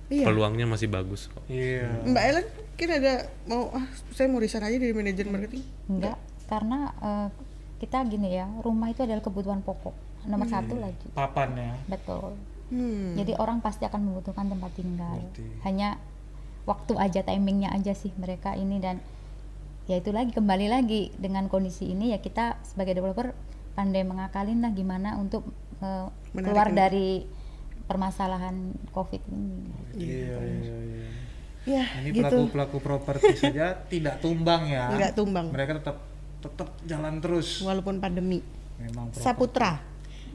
S3: Iya.
S6: peluangnya masih bagus kok.
S2: Iya.
S3: Mbak Ellen mungkin ada mau ah saya mau resign aja dari manajer marketing.
S5: Enggak,
S3: Ya.
S5: karena eh, kita gini ya, rumah itu adalah kebutuhan pokok nomor satu lagi.
S2: Papan
S3: Iya,
S2: ya.
S5: Betul.
S3: Hmm.
S5: Jadi orang pasti akan membutuhkan tempat tinggal.
S2: Ngerti.
S5: Hanya waktu aja, timingnya aja sih mereka ini dan ya itu lagi kembali lagi dengan kondisi ini ya kita sebagai developer pandai mengakalin lah gimana untuk eh,
S3: Menarik
S5: keluar
S3: minat.
S5: dari permasalahan covid ini.
S2: Iya, iya, iya.
S3: Ya,
S2: Ini
S3: gitu.
S2: pelaku-pelaku properti saja tidak tumbang ya.
S3: Nggak tumbang.
S2: Mereka tetap tetap jalan terus.
S3: Walaupun pandemi.
S2: Memang properti.
S3: Saputra.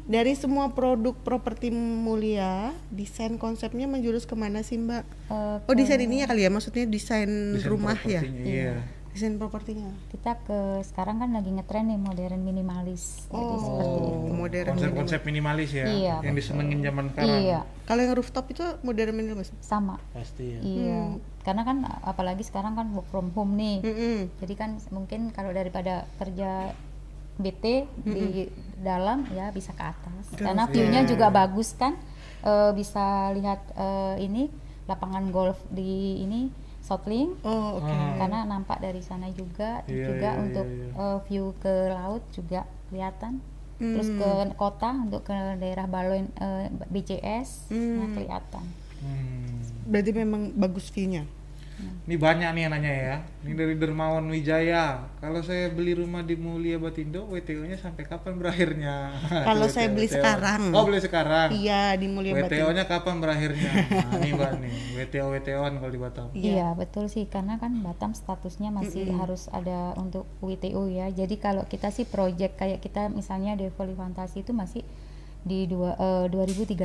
S3: Dari semua produk properti mulia, desain konsepnya menjurus kemana sih Mbak?
S5: Eh,
S3: Oh desain ininya kali ya, maksudnya desain,
S2: Desain
S3: rumah ya,
S2: propertinya, Iya.
S3: desain propertinya.
S5: kita ke sekarang kan lagi ngetren nih modern minimalis jadi seperti
S3: Oh, modern. minimal.
S2: Konsep-konsep minimalis ya.
S5: Iya,
S2: yang disenengin zaman sekarang.
S5: iya
S3: Kalau yang rooftop itu modern minimalis.
S5: sama
S2: Pasti ya.
S5: iya karena kan apalagi sekarang kan work from home nih
S3: Mm-mm.
S5: jadi kan mungkin kalau daripada kerja BT di dalam ya bisa ke atas karena
S2: iya.
S5: view-nya juga bagus kan Eh, bisa lihat eh, ini lapangan golf di ini Southling
S3: Oh oke.
S5: karena nampak dari sana juga
S2: Hmm. Iya,
S5: juga
S2: iya,
S5: untuk
S2: iya,
S5: eh, view ke laut juga kelihatan terus ke kota untuk ke daerah Balon eh, BCS nah kelihatan
S2: Hmm.
S3: Berarti memang bagus view-nya.
S2: Ini banyak nih yang nanya ya. Ini dari Dermawan Wijaya. Kalau saya beli rumah di Mulia Batindo, WTO-nya sampai kapan berakhirnya?
S3: [laughs] Kalau saya beli sekarang.
S2: Oh, beli sekarang.
S3: Iya di Mulia Batin.
S2: WTO-nya kapan
S3: [laughs]
S2: berakhirnya? Nah, ini Mbak nih, WTO WTO-an kalau di Batam.
S5: Iya betul sih karena kan Batam statusnya masih harus ada untuk WTO ya. Jadi kalau kita sih project kayak kita misalnya Devoli Fantasi itu masih di dua, eh, 2035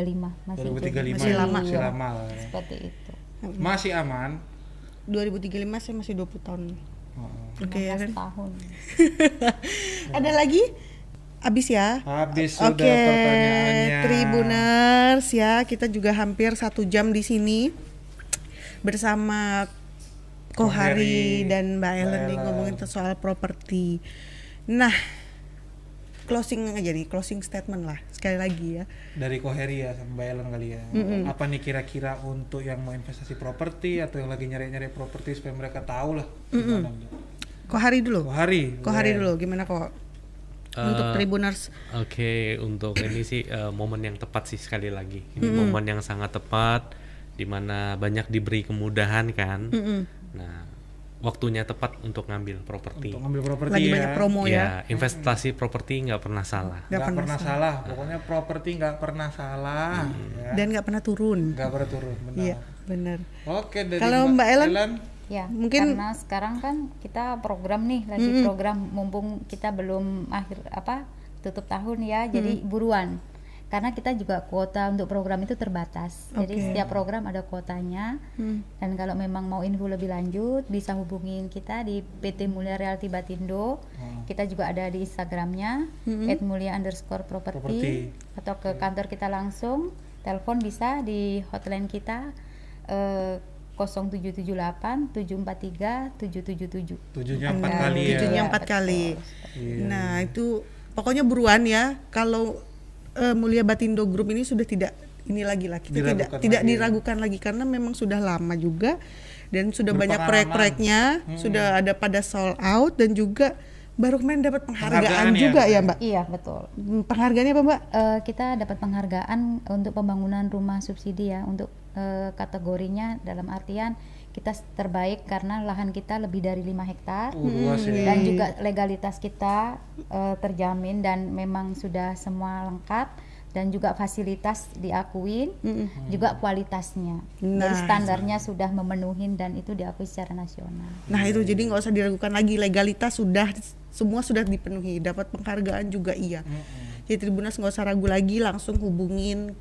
S5: masih
S2: 2035
S3: Masih
S2: ya,
S3: lama. Iya.
S2: Masih lama lah
S5: jadi
S2: ya.
S5: seperti itu.
S2: Masih aman.
S3: 2035 saya masih 20 tahun.
S2: Heeh.
S3: Oke ya kan.
S5: 15 tahun.
S3: [laughs] Ada lagi? Abis ya.
S2: Habis sudah
S3: Oke,
S2: pertanyaannya.
S3: Tribuners ya, kita juga hampir satu jam di sini bersama Kohari
S2: Kohari,
S3: dan Mbak Ellen nih
S2: Ellen.
S3: ngomongin soal properti. Nah, closing aja nih, closing statement lah sekali lagi ya.
S2: dari Koheri ya sama Mbak Ellen kali ya. Apa nih kira-kira untuk yang mau investasi properti atau yang lagi nyari-nyari properti supaya mereka tahu lah gimana. gitu?
S3: Kohari dulu,
S2: Kohari.
S3: Kohari
S2: boleh.
S3: dulu, gimana kok untuk
S6: Eh,
S3: Tribuners?
S6: Oke, untuk ini sih eh, momen yang tepat sih sekali lagi. Ini momen yang sangat tepat dimana banyak diberi kemudahan kan. Nah, waktunya tepat untuk ngambil properti.
S2: Untuk ngambil properti
S3: Lagi
S2: ya.
S3: banyak promo ya.
S6: ya, investasi properti nggak pernah salah.
S3: Nggak
S2: Nggak
S3: pernah Iya.
S2: pernah, salah. Pokoknya properti nggak pernah salah. Ya.
S3: Dan nggak pernah turun.
S2: Nggak pernah turun. Benar.
S3: Iya, benar.
S2: Oke dari
S3: Kalau Mbak Ellen?
S5: Ya,
S3: Mungkin-
S5: karena sekarang kan kita program nih lagi program mumpung kita belum akhir apa tutup tahun ya, jadi buruan. Karena kita juga kuota untuk program itu terbatas. Jadi setiap program ada kuotanya. Dan kalau memang mau info lebih lanjut bisa hubungin kita di PT Mulia Realty Batindo. Kita juga ada di Instagramnya @mulia underscore property
S2: Property.
S5: atau ke kantor kita langsung. Telepon bisa di hotline kita eh, 0778 743 777.
S2: tujuhnya empat kali ya.
S3: Tujuhnya empat kali.
S2: Iya.
S3: Nah itu pokoknya buruan ya. Kalau eh, Mulia Batindo Group ini sudah tidak ini lagi lah kita tidak
S2: Diragukan
S3: tidak
S2: lagi.
S3: diragukan lagi karena memang sudah lama juga dan sudah banyak
S2: Berpengalaman.
S3: proyek-proyeknya
S2: Hmm,
S3: sudah
S2: iya.
S3: ada pada sold out dan juga baru kemarin dapat penghargaan
S2: Penghargaan ya.
S3: juga ya, Mbak.
S5: Iya, betul.
S3: Hmm, Penghargaannya apa Mbak?
S5: Eh, kita dapat penghargaan untuk pembangunan rumah subsidi ya untuk eh, kategorinya dalam artian kita terbaik karena lahan kita lebih dari 5 hektar.
S2: Uh, luas ya.
S3: Hmm.
S5: dan juga legalitas kita eh, terjamin dan memang sudah semua lengkap dan juga fasilitas diakuin juga kualitasnya jadi
S3: Nah.
S5: standarnya sudah memenuhi dan itu diakui secara nasional
S3: Nah itu jadi nggak usah diragukan lagi legalitas sudah semua sudah dipenuhi dapat penghargaan juga iya. Jadi Tribunas nggak usah ragu lagi langsung hubungin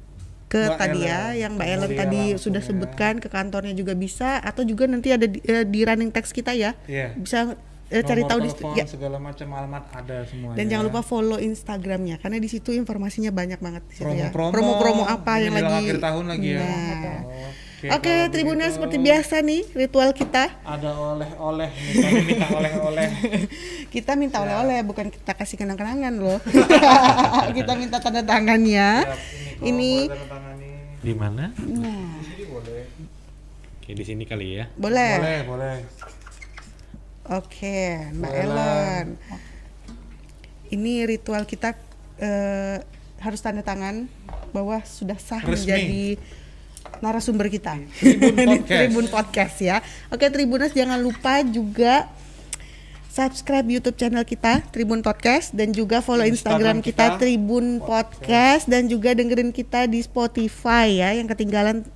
S3: ke
S2: Mbak
S3: tadi ya
S2: Ellen.
S3: yang Mbak Ellen
S2: Iya,
S3: tadi
S2: langsung
S3: sudah
S2: ya.
S3: sebutkan ke kantornya juga bisa atau juga nanti ada di, eh, di running text kita ya
S2: Iya.
S3: bisa eh, cari
S2: Nomor
S3: tahu di
S2: telepon,
S3: ya.
S2: segala macam alamat ada semuanya.
S3: dan jangan lupa follow Instagramnya karena di situ informasinya banyak banget di situ ya.
S2: Promo-promo.
S3: promo-promo apa
S2: Ini
S3: yang
S2: menjelang
S3: lagi
S2: akhir tahun lagi ya.
S3: Nah.
S2: Oke,
S3: Oke,
S2: kalau
S3: Tribuners
S2: begitu.
S3: seperti biasa nih ritual kita.
S2: Ada oleh-oleh, nih, kami minta oleh-oleh.
S3: kita minta oleh-oleh bukan kita kasih kenang-kenangan loh [laughs] kita minta tanda tangannya
S2: Siap,
S3: [laughs]
S2: kalau boleh
S3: ini
S2: tanda tangani.
S6: Di mana?
S3: nah,
S6: Oke, di sini kali ya.
S3: Boleh.
S2: boleh boleh
S3: Oke, Mbak
S2: Boleh lah.
S3: Ellen. Ini ritual kita eh, harus tanda tangan bahwa sudah sah
S2: Resmi.
S3: menjadi narasumber kita [laughs]
S7: Tribun
S3: di
S7: Podcast.
S3: Tribun Podcast ya. Oke, Tribuners jangan lupa juga subscribe YouTube channel kita Tribun Podcast dan juga follow
S7: Instagram
S3: Instagram, kita,
S7: kita,
S3: Tribun Podcast dan juga dengerin kita di Spotify ya yang ketinggalan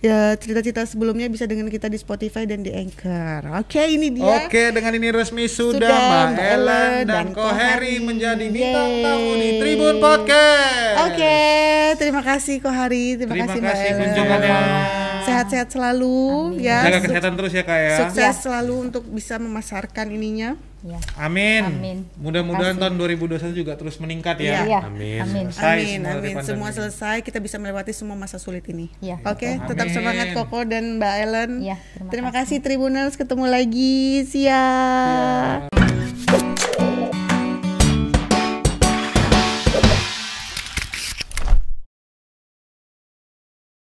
S3: ya, cerita-cerita sebelumnya bisa dengerin kita di Spotify dan di Anchor. Oke, ini dia.
S2: Oke, dengan ini resmi sudah,
S3: Iya. Sudah,
S2: Mbak
S3: Mbak
S2: Ellen
S3: Ellen
S2: dan
S3: dan
S2: Ko
S3: Ko
S2: Heri
S3: Heri.
S2: menjadi bintang
S3: Yeay.
S2: tamu di Tribun Podcast.
S3: Oke, terima kasih Ko Hari, terima,
S2: Terima
S3: kasih Mbak
S2: kasih
S3: Ellen.
S2: kunjungannya.
S3: Sehat-sehat selalu ya.
S7: Jaga
S3: Suk-
S7: kesehatan terus ya kak ya.
S3: Sukses selalu untuk bisa memasarkan ininya.
S5: ya
S7: Amin.
S5: Amin.
S7: Mudah-mudahan tahun 2021 juga terus meningkat ya.
S3: Iya.
S5: iya
S6: Amin.
S5: amin
S7: Selesai
S3: amin,
S7: semua
S3: amin.
S7: dari
S3: Semua
S7: pandemi.
S3: selesai, kita bisa melewati semua masa sulit ini.
S5: Iya.
S3: Oke,
S7: Amin.
S3: tetap semangat Koko dan Mbak Ellen.
S5: Iya,
S3: terima
S5: terima
S3: kasih Tribuners, ketemu lagi. Sia.